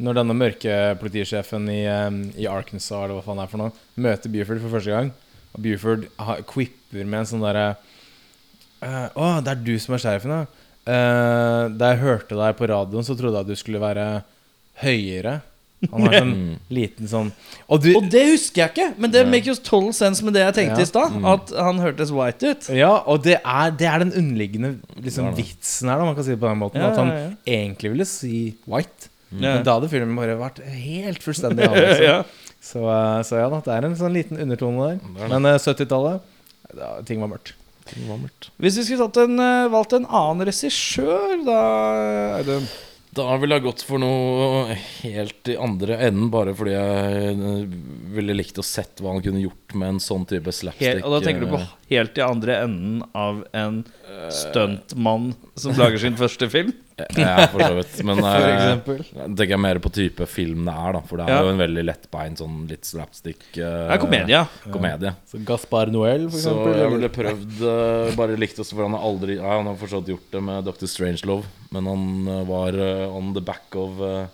Speaker 4: når denne mørke politisjefen i, eh, i Arkansas eller hva faen det er for noe, møter Buford for første gang. Og Buford ha- quipper med en sånn derre eh, Å, det er du som er sheriffen, ja. Eh, da jeg hørte deg på radioen, så trodde jeg at du skulle være høyere. Han har sånn liten sånn Og du
Speaker 1: Mm. Og det husker jeg ikke, men det makes total sense med det jeg tenkte
Speaker 4: Ja.
Speaker 1: i stad. At han hørtes white ut.
Speaker 4: Ja, og det er, det er den underliggende liksom, vitsen her, da, man kan si det på den måten.
Speaker 1: Ja,
Speaker 4: at han
Speaker 1: ja, ja.
Speaker 4: egentlig ville si white.
Speaker 1: Ja.
Speaker 4: Men da hadde filmen bare vært helt
Speaker 1: (laughs)
Speaker 4: fullstendig annerledes.
Speaker 1: Ja.
Speaker 4: så, eh, så ja da, det er en sånn liten undertone der. Men eh, 70-tallet, da- ting var mørkt.
Speaker 2: Det var mørkt.
Speaker 1: Hvis vi skulle tatt en, eh, valgt en annen regissør, da Audun
Speaker 2: (laughs) Da ville jeg gått for noe helt i andre enden, bare fordi jeg eh, ville likt å sett hva han kunne gjort med en sånn type slapstick.
Speaker 1: Helt, og da tenker du på
Speaker 2: eh,
Speaker 1: helt i andre enden av en stuntmann som lager sin første film?
Speaker 2: Eh, Ja, for så vidt.
Speaker 1: (laughs)
Speaker 2: Men
Speaker 4: For
Speaker 2: eh,
Speaker 4: eksempel.
Speaker 2: jeg tenker mer på type film det er, da. For det er
Speaker 1: Ja.
Speaker 2: jo en veldig lettbeint, sånn litt slapstick eh,
Speaker 1: Det er komedie.
Speaker 2: komedie.
Speaker 4: Så Gaspar Noel, for
Speaker 2: Så
Speaker 4: eksempel.
Speaker 2: jeg
Speaker 4: eller-
Speaker 2: ville prøvd eh, Bare likt også for han har aldri ja, Han har fortsatt gjort det med Dr. Strangelove Men han eh, var eh, on the back of eh,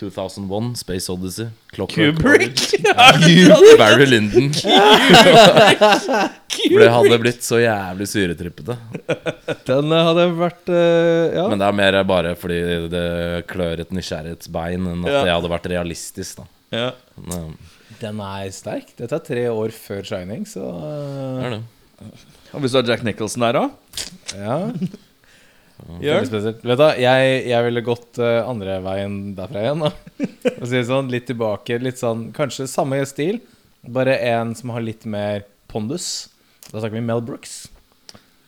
Speaker 2: 2001 Space Odyssey Clockwork
Speaker 1: Kubrick! (laughs)
Speaker 2: Orange, Barry Lyndon For det hadde blitt så jævlig syretrippete
Speaker 4: Den eh, hadde vært eh, Ja.
Speaker 2: Men det er mer bare fordi det klør et nysgjerrighetsbein Enn at
Speaker 1: Ja.
Speaker 2: det hadde vært realistisk da
Speaker 1: Ja.
Speaker 2: Men, eh,
Speaker 4: Den er sterk. Dette er tre år før 'Shining', så eh,
Speaker 2: det er det
Speaker 1: Og hvis du har Jack Nicholson der òg?
Speaker 4: Ja. Veldig
Speaker 1: Jørn?
Speaker 4: spesielt. Vet du, hva, jeg, jeg ville gått eh, andre veien derfra
Speaker 1: (laughs)
Speaker 4: igjen. Da. Og si det sånn, litt tilbake, litt sånn Kanskje samme stil, bare en som har litt mer pondus. Da snakker vi Mel Brooks.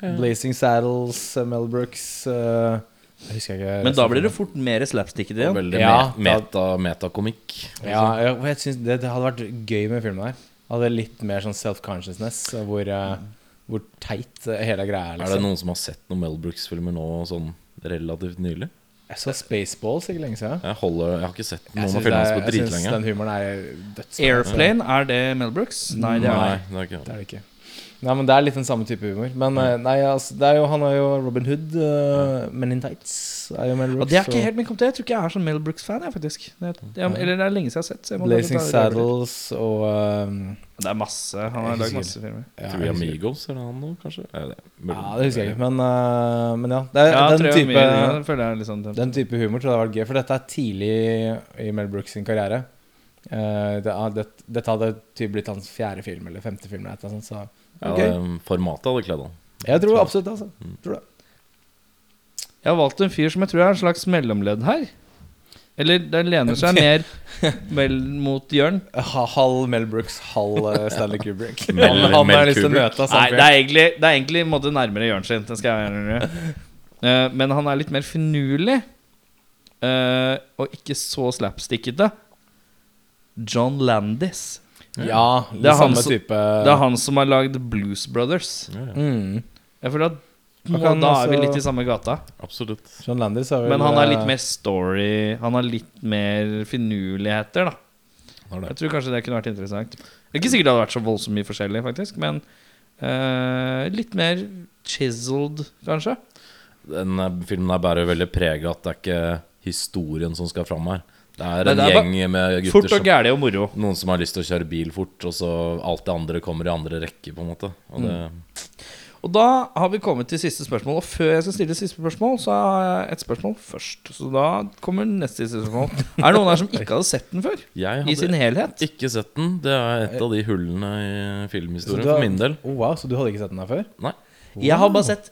Speaker 4: Blazing Saddles, eh, Mel Brooks eh, Jeg husker ikke
Speaker 1: Men da blir det fort mer slapstick i det
Speaker 2: Og
Speaker 1: igjen.
Speaker 2: Veldig
Speaker 4: Ja,
Speaker 2: me- meta, metakomikk
Speaker 4: ja, jeg, jeg synes det, det hadde vært gøy med filmen her. Hadde litt mer sånn self-consciousness, eh, hvor, eh, hvor teit eh, hele greia er.
Speaker 2: Er det
Speaker 4: Liksom.
Speaker 2: noen som har sett noen Mel Brooks-filmer nå Sånn relativt nylig?
Speaker 4: Jeg så Spaceballs ikke lenge siden.
Speaker 2: Jeg, holder, jeg har ikke sett
Speaker 4: Jeg
Speaker 2: noen av
Speaker 4: syns det
Speaker 2: filmene
Speaker 4: er-
Speaker 2: hans på
Speaker 4: jeg syns
Speaker 2: dritlenge.
Speaker 4: den humoren er dødsbra.
Speaker 1: Airplane, er det Mel Brooks? Nei, det er
Speaker 2: Nei,
Speaker 1: det.
Speaker 2: det er ikke
Speaker 4: Det er det ikke. Nei, men Det er litt den samme type humor. Men eh, nei, altså, det er jo, han er jo Robin Hood. Uh, Men in tights er jo Mel
Speaker 1: Og
Speaker 4: Brooks.
Speaker 1: det er ikke
Speaker 4: og
Speaker 1: helt min komité. Jeg tror ikke jeg er sånn Mel Brooks-fan. jeg, faktisk det, ja, men- Eller det er lenge siden jeg har sett. Så jeg må bare
Speaker 4: Blazing
Speaker 1: ta det over.
Speaker 4: Saddles og eh,
Speaker 1: Det er masse. Han har
Speaker 4: Jeg
Speaker 1: lagd
Speaker 4: husker
Speaker 1: masse filmer.
Speaker 4: ja,
Speaker 2: Tror jeg
Speaker 4: jeg husker-
Speaker 2: Amigos er det han nå, kanskje? Ja, det, er mulig.
Speaker 4: ja, det husker jeg ikke. Men, eh, men ja. Det er,
Speaker 1: Ja,
Speaker 4: den,
Speaker 1: tror jeg
Speaker 4: type,
Speaker 1: mye, ja, det føler jeg er litt sånn
Speaker 4: den type humor tror jeg hadde vært gøy. For dette er tidlig i Mel Brooks sin karriere. Eh, det, er- det, dette hadde typ blitt hans fjerde film eller femte film. Eller et eller annet sånt, så
Speaker 2: Ja,
Speaker 4: ok.
Speaker 2: det- Formatet hadde kledd han.
Speaker 4: Jeg tror absolutt altså. Tror det.
Speaker 1: Jeg har valgt en fyr som jeg tror er en slags mellomledd her. Eller den lener (laughs) seg mer vel mot Jørn.
Speaker 4: Ha- Halv Mel Brooks, halv eh, Stanley Kubrick.
Speaker 2: Mel-
Speaker 4: (laughs) han han
Speaker 2: Mel
Speaker 4: har jeg lyst til å
Speaker 2: Kubrick.
Speaker 4: møte. altså.
Speaker 1: Nei, det er egentlig, det er egentlig en måte nærmere Jørn sin. Det skal jeg være ærlig med. Eh, Men han er litt mer finurlig. eh, Og ikke så slapstickete. John Landis.
Speaker 4: Ja,
Speaker 1: Det er
Speaker 4: litt
Speaker 1: han
Speaker 4: samme
Speaker 1: som-
Speaker 4: type
Speaker 1: Det er han som har lagd Blues Brothers.
Speaker 2: Ja, ja.
Speaker 4: mm.
Speaker 1: Jeg føler at
Speaker 4: Han
Speaker 1: må,
Speaker 4: kan altså
Speaker 1: Da er vi
Speaker 4: også-
Speaker 1: litt i samme gata.
Speaker 2: Absolutt.
Speaker 4: John Landis er vel
Speaker 1: Men han er litt
Speaker 4: eh,
Speaker 1: mer story. Han har litt mer finurligheter, da.
Speaker 2: Han er det.
Speaker 1: Jeg tror kanskje det kunne vært interessant. Det er ikke sikkert det hadde vært så voldsomt mye forskjellig, faktisk, men eh, litt mer chiseled, kanskje.
Speaker 2: Den eh, filmen her bærer veldig preg av at det er ikke historien som skal fram her. Det er
Speaker 1: Nei,
Speaker 2: en
Speaker 1: det er bare
Speaker 2: gjeng med gutter
Speaker 1: Fort og
Speaker 2: som
Speaker 1: gæli og moro.
Speaker 2: Noen som har lyst til å kjøre bil fort, og så alt det andre kommer i andre rekke, på en måte. Og det,
Speaker 4: Mm.
Speaker 1: Og da har vi kommet til siste spørsmål. Og før jeg skal stille siste spørsmål, så har jeg et spørsmål først. Så da kommer neste siste
Speaker 2: (laughs)
Speaker 1: spørsmål. Er det noen her som ikke hadde sett den før?
Speaker 2: jeg
Speaker 1: I sin
Speaker 2: hadde
Speaker 1: helhet?
Speaker 2: ikke sett den. Det er et av de hullene i
Speaker 4: så
Speaker 2: filmhistorien
Speaker 4: du har-
Speaker 2: for min del.
Speaker 4: Oh, wow, så du hadde ikke sett den her før?
Speaker 2: Nei.
Speaker 1: Jeg har bare sett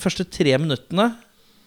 Speaker 1: første tre minuttene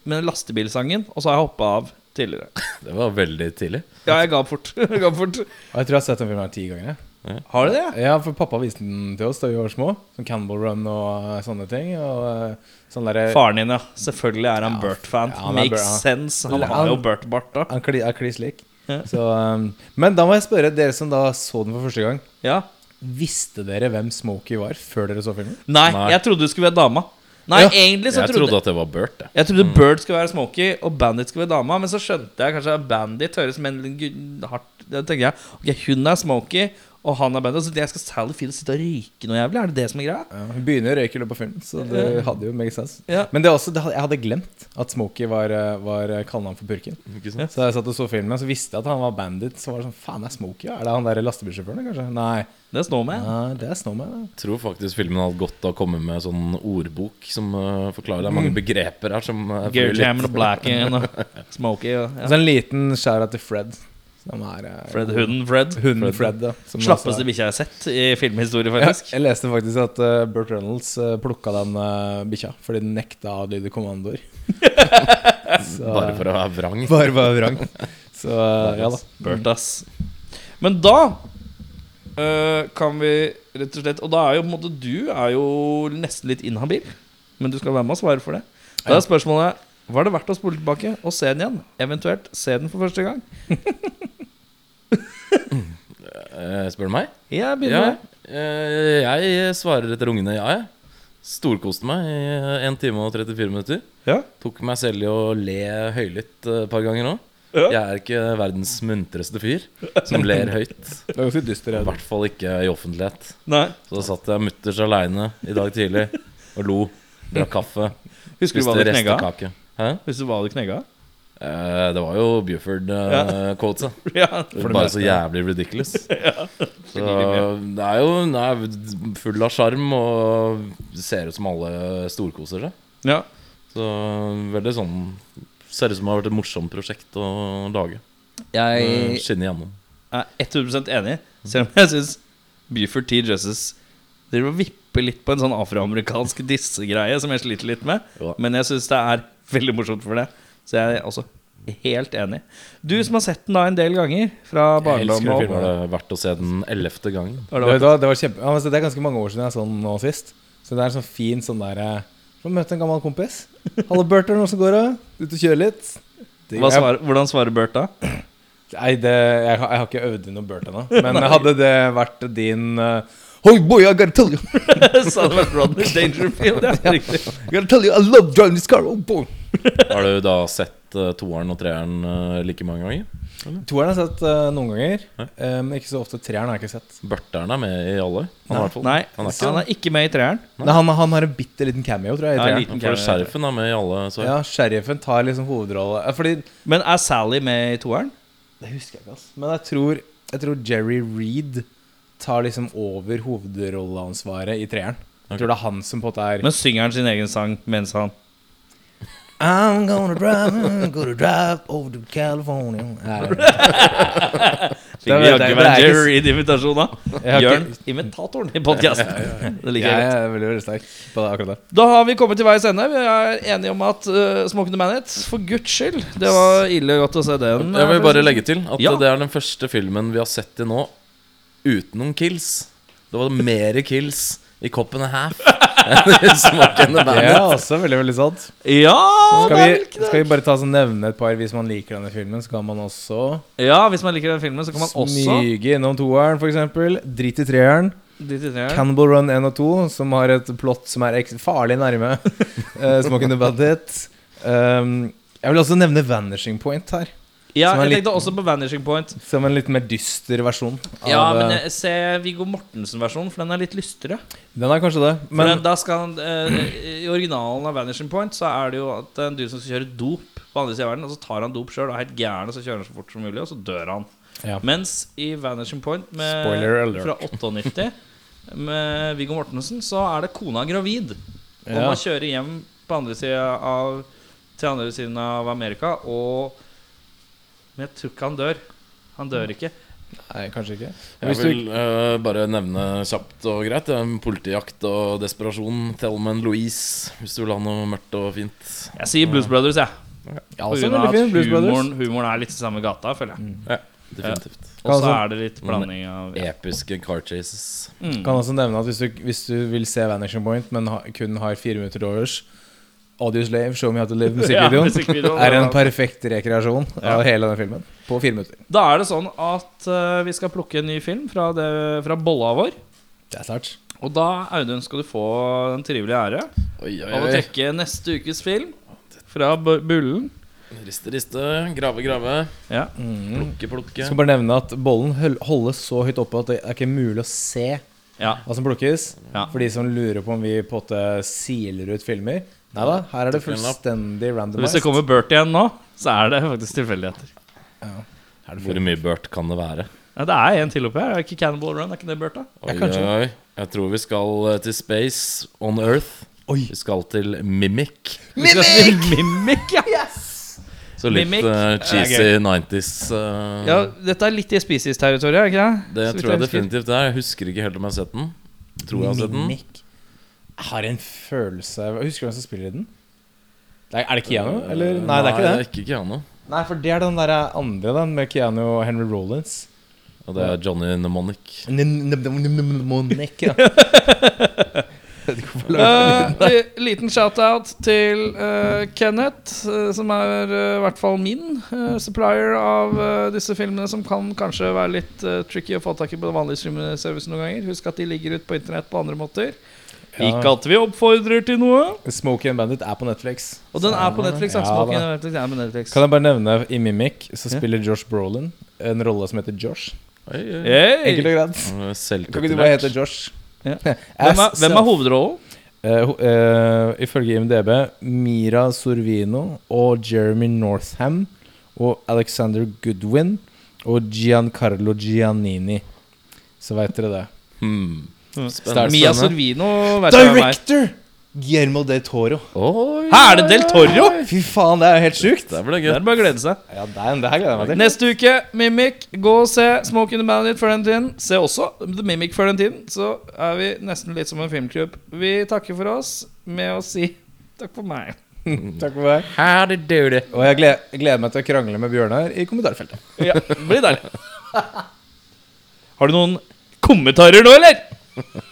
Speaker 1: med lastebilsangen, og så har jeg hoppa av tidligere.
Speaker 2: Det var veldig tidlig.
Speaker 1: Ja, jeg ga opp fort. (laughs) Jeg ga opp fort.
Speaker 4: Og jeg tror jeg har sett den filmen her ti ganger. jeg.
Speaker 1: Har du det?
Speaker 4: Ja, for pappa viste den til oss da vi var små. Som Cannibal Run og eh, sånne ting. Og eh, sånn derre
Speaker 1: Faren din, ja. Selvfølgelig er han
Speaker 4: Ja,
Speaker 1: Bert-fan.
Speaker 4: ja, han er
Speaker 1: Makes
Speaker 4: Bert, ja.
Speaker 1: sense. Han
Speaker 4: Ja.
Speaker 1: har jo Bert-bart, da.
Speaker 4: Han kli- er kliss lik.
Speaker 1: Ja.
Speaker 4: Så, um, men da må jeg spørre dere som da så den for første gang.
Speaker 1: Ja.
Speaker 4: Visste dere hvem Smokey var før dere så filmen?
Speaker 1: Nei,
Speaker 2: Nei.
Speaker 1: jeg trodde du skulle være dama. Nei,
Speaker 4: Ja.
Speaker 1: egentlig så
Speaker 2: Jeg
Speaker 1: trodde
Speaker 2: trodde at det var Bert, jeg.
Speaker 1: Jeg trodde
Speaker 4: Mm.
Speaker 1: Bird skulle være Smokey og Bandit skulle være dama, men så skjønte jeg kanskje at Bandit høres men gu- hardt Da tenker jeg ok, hun er Smokey, og han er Bandit. Så jeg skal Sally Field sitte og ryke noe jævlig? Er det det som er greia?
Speaker 4: Ja, hun begynner å røyke i løpet av filmen, så det hadde jo make sense.
Speaker 1: Ja.
Speaker 4: Men det er også, det, hadde- jeg hadde glemt at Smokey var, eh, var eh, kallenavn for purken.
Speaker 2: Ikke sant?
Speaker 4: Så jeg satt og så filmen, så visste jeg at han var bandit. Så var det sånn, faen, det er Smokey, ja? Er det han der lastebilsjåføren, da, kanskje? Nei,
Speaker 1: Det står med.
Speaker 4: Nei, det er Snowman. da.
Speaker 2: tror faktisk filmen hadde godt av å komme med sånn ordbok som eh, forklarer deg mange begreper her. Som, eh,
Speaker 1: Gary
Speaker 2: blir litt-
Speaker 4: (laughs)
Speaker 1: Jammer og Blacken og Smokey og ja.
Speaker 4: Så en liten skjæra til Fred, Som er eh,
Speaker 1: Fred Hunden Fred.
Speaker 4: Hunden Fred, ja. som også
Speaker 1: Slappeste
Speaker 4: er-
Speaker 1: bikkja jeg har sett i filmhistorie,
Speaker 4: Ja,
Speaker 1: faktisk.
Speaker 4: jeg leste faktisk at eh, Burt Reynolds uh, plukka den eh, bikkja fordi den nekta å adlyde kommandoer. (laughs) Så-
Speaker 2: (laughs)
Speaker 4: eh,
Speaker 2: Bare for å være vrang.
Speaker 4: Bare bare vrang. Så eh, ja da.
Speaker 1: Burt, ass. Men da eh, kan vi rett og slett Og da er jo på en måte Du er jo nesten litt inhabil, men du skal være med og svare for det. Da er spørsmålet Var det verdt å spole tilbake og se den igjen? Eventuelt se den for første gang?
Speaker 2: Eh, spør du meg?
Speaker 1: Jeg
Speaker 2: Ja,
Speaker 1: begynner med
Speaker 2: eh, jeg svarer etter ungene ja, jeg. Storkoste meg i 1 time og 34 minutter.
Speaker 1: Ja.
Speaker 2: Tok meg selv i å le høylytt eh, et par ganger nå.
Speaker 1: Ja.
Speaker 2: Jeg er ikke verdens muntreste fyr som ler høyt.
Speaker 4: (laughs) Det var ganske dyster.
Speaker 2: I
Speaker 4: jeg.
Speaker 2: hvert fall ikke i offentlighet.
Speaker 1: Nei.
Speaker 2: Så da satt jeg mutters aleine i dag tidlig og lo. Drakk kaffe.
Speaker 1: Husker du hva
Speaker 2: Spiste
Speaker 1: det knegga?
Speaker 2: restekake. Hæ?
Speaker 1: Husker du hva det knegga?
Speaker 2: Eh, det var jo Buford-quotes, ja.
Speaker 1: Ja.
Speaker 2: Det var bare så jævlig ridiculous. Så det er jo den er full av sjarm og ser ut som alle storkoser seg.
Speaker 1: ja.
Speaker 2: Så veldig sånn Ser ut som det har vært et morsomt prosjekt å lage. Eh,
Speaker 1: Jeg
Speaker 2: Skinne gjennom.
Speaker 1: er 100 enig, selv om jeg syns Buford T. Justice driver og vipper litt på en sånn afroamerikansk dissegreie som jeg sliter litt med.
Speaker 2: Jo da.
Speaker 1: Men jeg syns det er veldig morsomt for det. Så jeg er også helt enig. Du som har sett den da en del ganger, fra barndom
Speaker 4: elsker
Speaker 1: og
Speaker 4: den
Speaker 2: Var det verdt å se den ellevte gangen?
Speaker 1: Har
Speaker 4: Det,
Speaker 1: det vært-
Speaker 4: var, det, var kjempe, ja, men så det er ganske mange år siden jeg så den nå sist. Så det er en sånn fin sånn der eh, Få møte en gammel kompis. Hallo, Bert, er det noen som går av? Ut og kjører litt? Det-
Speaker 1: Hva svarer, hvordan svarer Bert da? (laughs)
Speaker 4: Nei, det, jeg, har- jeg har ikke øvd inn noe Bert ennå.
Speaker 1: (laughs)
Speaker 4: Men hadde det vært din eh, Hey boy, I gotta tell you,
Speaker 1: Sa det var Rodney Dangerfield? Ja, riktig.
Speaker 4: I gotta tell you, I love driving this car. Oh boy.
Speaker 2: (laughs) Har du da sett eh, toeren og treeren eh, like mange ganger?
Speaker 4: Toeren har jeg sett eh, noen ganger, eh, men ikke så ofte. Treeren har jeg ikke sett.
Speaker 2: Børteren er med i alle. Han, er i hvert fall.
Speaker 1: Nei,
Speaker 2: han er ikke
Speaker 1: han er ikke med i treeren.
Speaker 4: Nei. han, han har en bitte liten cameo, tror jeg.
Speaker 1: Ja, en
Speaker 4: i treeren.
Speaker 1: liten
Speaker 2: For
Speaker 1: cameo.
Speaker 2: Sheriffen er med i alle. Så.
Speaker 4: Ja, Sheriffen tar liksom hovedrolle. Ja, Fordi
Speaker 1: Men er Sally med i toeren?
Speaker 4: Det husker jeg ikke, ass. Men jeg tror, jeg tror Jerry Reed tar liksom over hovedrolleansvaret i treeren. Jeg tror det er han som på en måte er
Speaker 1: Men synger han sin egen sang mens han
Speaker 4: I'm gonna drive, I'm gonna drive over to California (laughs) Nei, nei,
Speaker 1: Fikk vi
Speaker 4: vet jeg,
Speaker 1: jaggu
Speaker 4: det
Speaker 1: meg
Speaker 4: er
Speaker 1: en
Speaker 4: ikke-
Speaker 1: Jerry Reed-invitasjon, da.
Speaker 4: Jeg har
Speaker 1: Jørn,
Speaker 4: ikke-
Speaker 1: imitatoren (laughs) i podkasten. Det
Speaker 4: nei.
Speaker 1: liker
Speaker 4: Jeg
Speaker 1: jeg godt.
Speaker 4: er veldig veldig sterk på det akkurat der.
Speaker 1: Da har vi kommet til veis ende. Vi er enige om at uh, Smoking the Manet, for guds skyld Det var ille godt å se den.
Speaker 2: Jeg vil bare legge til at
Speaker 1: Ja.
Speaker 2: det er den første filmen vi har sett til nå uten noen kills. Det var mer kills i Cop and a Half enn i Smoke and the
Speaker 4: Det er
Speaker 2: Bandit.
Speaker 4: også veldig veldig sant.
Speaker 1: Ja!
Speaker 4: Skal
Speaker 1: det er
Speaker 4: vi,
Speaker 1: vel ikke det.
Speaker 4: skal vi bare ta så nevne et par hvis man liker denne filmen? Så kan man også
Speaker 1: Ja, hvis man liker den filmen, så kan man også
Speaker 4: smyge innom toeren, f.eks. Drit i treeren.
Speaker 1: Dit i treeren.
Speaker 4: Cannibal Run 1 og 2, som har et plott som er ek- farlig nærme. (laughs) Uh, Smoking the Bandit. Um, jeg vil også nevne Vanishing Point her,
Speaker 1: Ja,
Speaker 4: som er
Speaker 1: jeg
Speaker 4: litt-
Speaker 1: tenkte også på Vanishing Point.
Speaker 4: som en litt mer dyster versjon. Av,
Speaker 1: Ja, men
Speaker 4: eh,
Speaker 1: eh, se Viggo Mortensen-versjonen, for den er litt lystere.
Speaker 4: Den er kanskje det.
Speaker 1: Men
Speaker 4: Men
Speaker 1: da skal han eh, I originalen av Vanishing Point Så er det jo at det er en dude som skal kjøre dop på andre siden av verden, og så tar han dop sjøl og er helt gæren, og så kjører han så fort som mulig, og så dør han.
Speaker 4: Ja.
Speaker 1: Mens i Vanishing Point med,
Speaker 4: Spoiler alert.
Speaker 1: fra 98 med Viggo Mortensen, så er det kona gravid. Og
Speaker 4: Ja.
Speaker 1: man kjører hjem på andre sida av til andre siden av Amerika, og Men jeg tror ikke han dør. Han dør ikke.
Speaker 4: Nei, kanskje ikke.
Speaker 2: Jeg
Speaker 4: Hvis du,
Speaker 2: vil eh, bare nevne kjapt og greit det er en politijakt og desperasjon. Thelman Louise, hvis du vil ha noe mørkt og fint.
Speaker 1: Jeg sier Blues Brothers, jeg.
Speaker 4: ja,
Speaker 1: På grunn av
Speaker 4: også en Altså, veldig
Speaker 1: at
Speaker 4: fin, Blues
Speaker 1: humoren,
Speaker 4: Brothers. Mm.
Speaker 1: humoren er litt i samme gata, føler jeg.
Speaker 2: Definitivt.
Speaker 1: Og så
Speaker 4: Altså-
Speaker 1: er det litt blanding av ja.
Speaker 2: Episke car chases.
Speaker 4: Kan også nevne at hvis du, hvis du vil se Vanishing Point, men ha, kun har fire minutter til overs Audio Slave, Show Me How To Live, musikkvideoen,
Speaker 1: musikkvideoen,
Speaker 4: er en
Speaker 1: ja.
Speaker 4: perfekt rekreasjon av hele den filmen. På fire minutter.
Speaker 1: Da er det sånn at eh, vi skal plukke en ny film fra, det, fra bolla vår.
Speaker 4: Det er snart.
Speaker 1: Og da, Audun, skal du få den trivelige ære
Speaker 2: Oi, oi,
Speaker 1: av å
Speaker 2: oi.
Speaker 1: trekke neste ukes film fra bu- Bullen.
Speaker 2: Riste, riste. Grave, grave.
Speaker 1: Ja.
Speaker 2: Plukke, plukke.
Speaker 4: Jeg skal bare nevne at bollen høl- holdes så høyt oppe at det er ikke mulig å se
Speaker 1: ja.
Speaker 4: hva som plukkes.
Speaker 1: Ja.
Speaker 4: For de som lurer på om vi på en måte siler ut filmer. Nei da, her er det fullstendig
Speaker 1: Så hvis det
Speaker 4: randomized.
Speaker 1: kommer Bert igjen nå, så er det faktisk tilfeldigheter.
Speaker 2: Hvor mye Burt kan det være?
Speaker 1: Ja, det er en til oppi her. Er ikke Cannibal Run, er ikke det Bert, da?
Speaker 2: Oi,
Speaker 4: kanskje.
Speaker 2: oi, oi. Jeg tror vi skal eh, til Space on Earth.
Speaker 4: Oi.
Speaker 2: Vi skal til Mimic.
Speaker 1: Mimik! Mimik, ja.
Speaker 2: Så litt
Speaker 1: Mimic,
Speaker 2: eh,
Speaker 1: det er
Speaker 2: cheesy 90s. eh,
Speaker 1: Ja, dette er litt i Species-territoriet, er det ikke det?
Speaker 2: det
Speaker 1: Så vidt
Speaker 2: tror jeg
Speaker 1: husker.
Speaker 2: definitivt det er. Jeg husker ikke helt om jeg har sett den. Tror jeg har sett den.
Speaker 4: Mimic. Jeg har en følelse Hva- Husker du hvem som spiller i den? Det er, er det Keanu?
Speaker 2: Eh,
Speaker 4: Eller? Nei, det er ikke det.
Speaker 2: ikke Keanu.
Speaker 4: Nei, for det er den der andre, den med Keanu og Henry Rollins.
Speaker 2: Og det er Johnny Mnemonic.
Speaker 4: Mnemonic, ja.
Speaker 1: Eh, liten shout-out til eh, Kenneth, eh, som er eh, i hvert fall min eh, supplier av eh, disse filmene, som kan kanskje være litt eh, tricky å få tak i på den vanlige streamingservicen noen ganger. Husk at de ligger ute på internett på andre måter.
Speaker 4: Ja.
Speaker 1: Ikke at vi oppfordrer til noe.
Speaker 4: Smokey and Bandit er på Netflix.
Speaker 1: Og den er på Netflix.
Speaker 4: Ja,
Speaker 1: Ja, Smaken
Speaker 4: da.
Speaker 1: er Netflix, den er på Netflix.
Speaker 4: Kan jeg bare nevne i Mimic så
Speaker 1: Ja.
Speaker 4: spiller Josh Brolin en rolle som heter Josh.
Speaker 2: Oi, oi.
Speaker 1: Hey!
Speaker 4: Enkelt og greit. Kan ikke du bare hete
Speaker 2: Selvkulturert.
Speaker 4: Josh?
Speaker 1: Ja.
Speaker 4: (laughs) Ass altså.
Speaker 1: Hvem er, hvem
Speaker 4: self.
Speaker 1: er hovedrollen?
Speaker 4: Eh, ho- eh, ifølge IMDb Mira Sorvino og Jeremy Northam og Alexander Goodwin og Giancarlo Giannini. Så veit dere det.
Speaker 2: Hmm.
Speaker 4: Start.
Speaker 2: Spennende.
Speaker 1: Mia
Speaker 4: spennende.
Speaker 1: Sorvino, vet du hvem er.
Speaker 4: Guillermo del Toro.
Speaker 2: Oi,
Speaker 1: Her er det Del Toro!
Speaker 4: Fy faen, det er jo helt sjukt.
Speaker 2: Der ble det
Speaker 1: Det er
Speaker 2: gøy.
Speaker 1: bare å glede seg.
Speaker 4: Ja, det, er, det her gleder jeg meg til.
Speaker 1: Neste uke, Mimic. Gå og se Smoke in the Bandit før den tiden. Se også The Mimic før den tiden. Så er vi nesten litt som en filmklubb. Vi takker for oss med å si takk for meg.
Speaker 4: Takk for meg.
Speaker 2: Her er det døde.
Speaker 4: Og jeg gleder, jeg gleder meg til å krangle med Bjørnar i kommentarfeltet.
Speaker 1: Ja, (laughs) det blir deilig. Har du noen kommentarer nå, eller?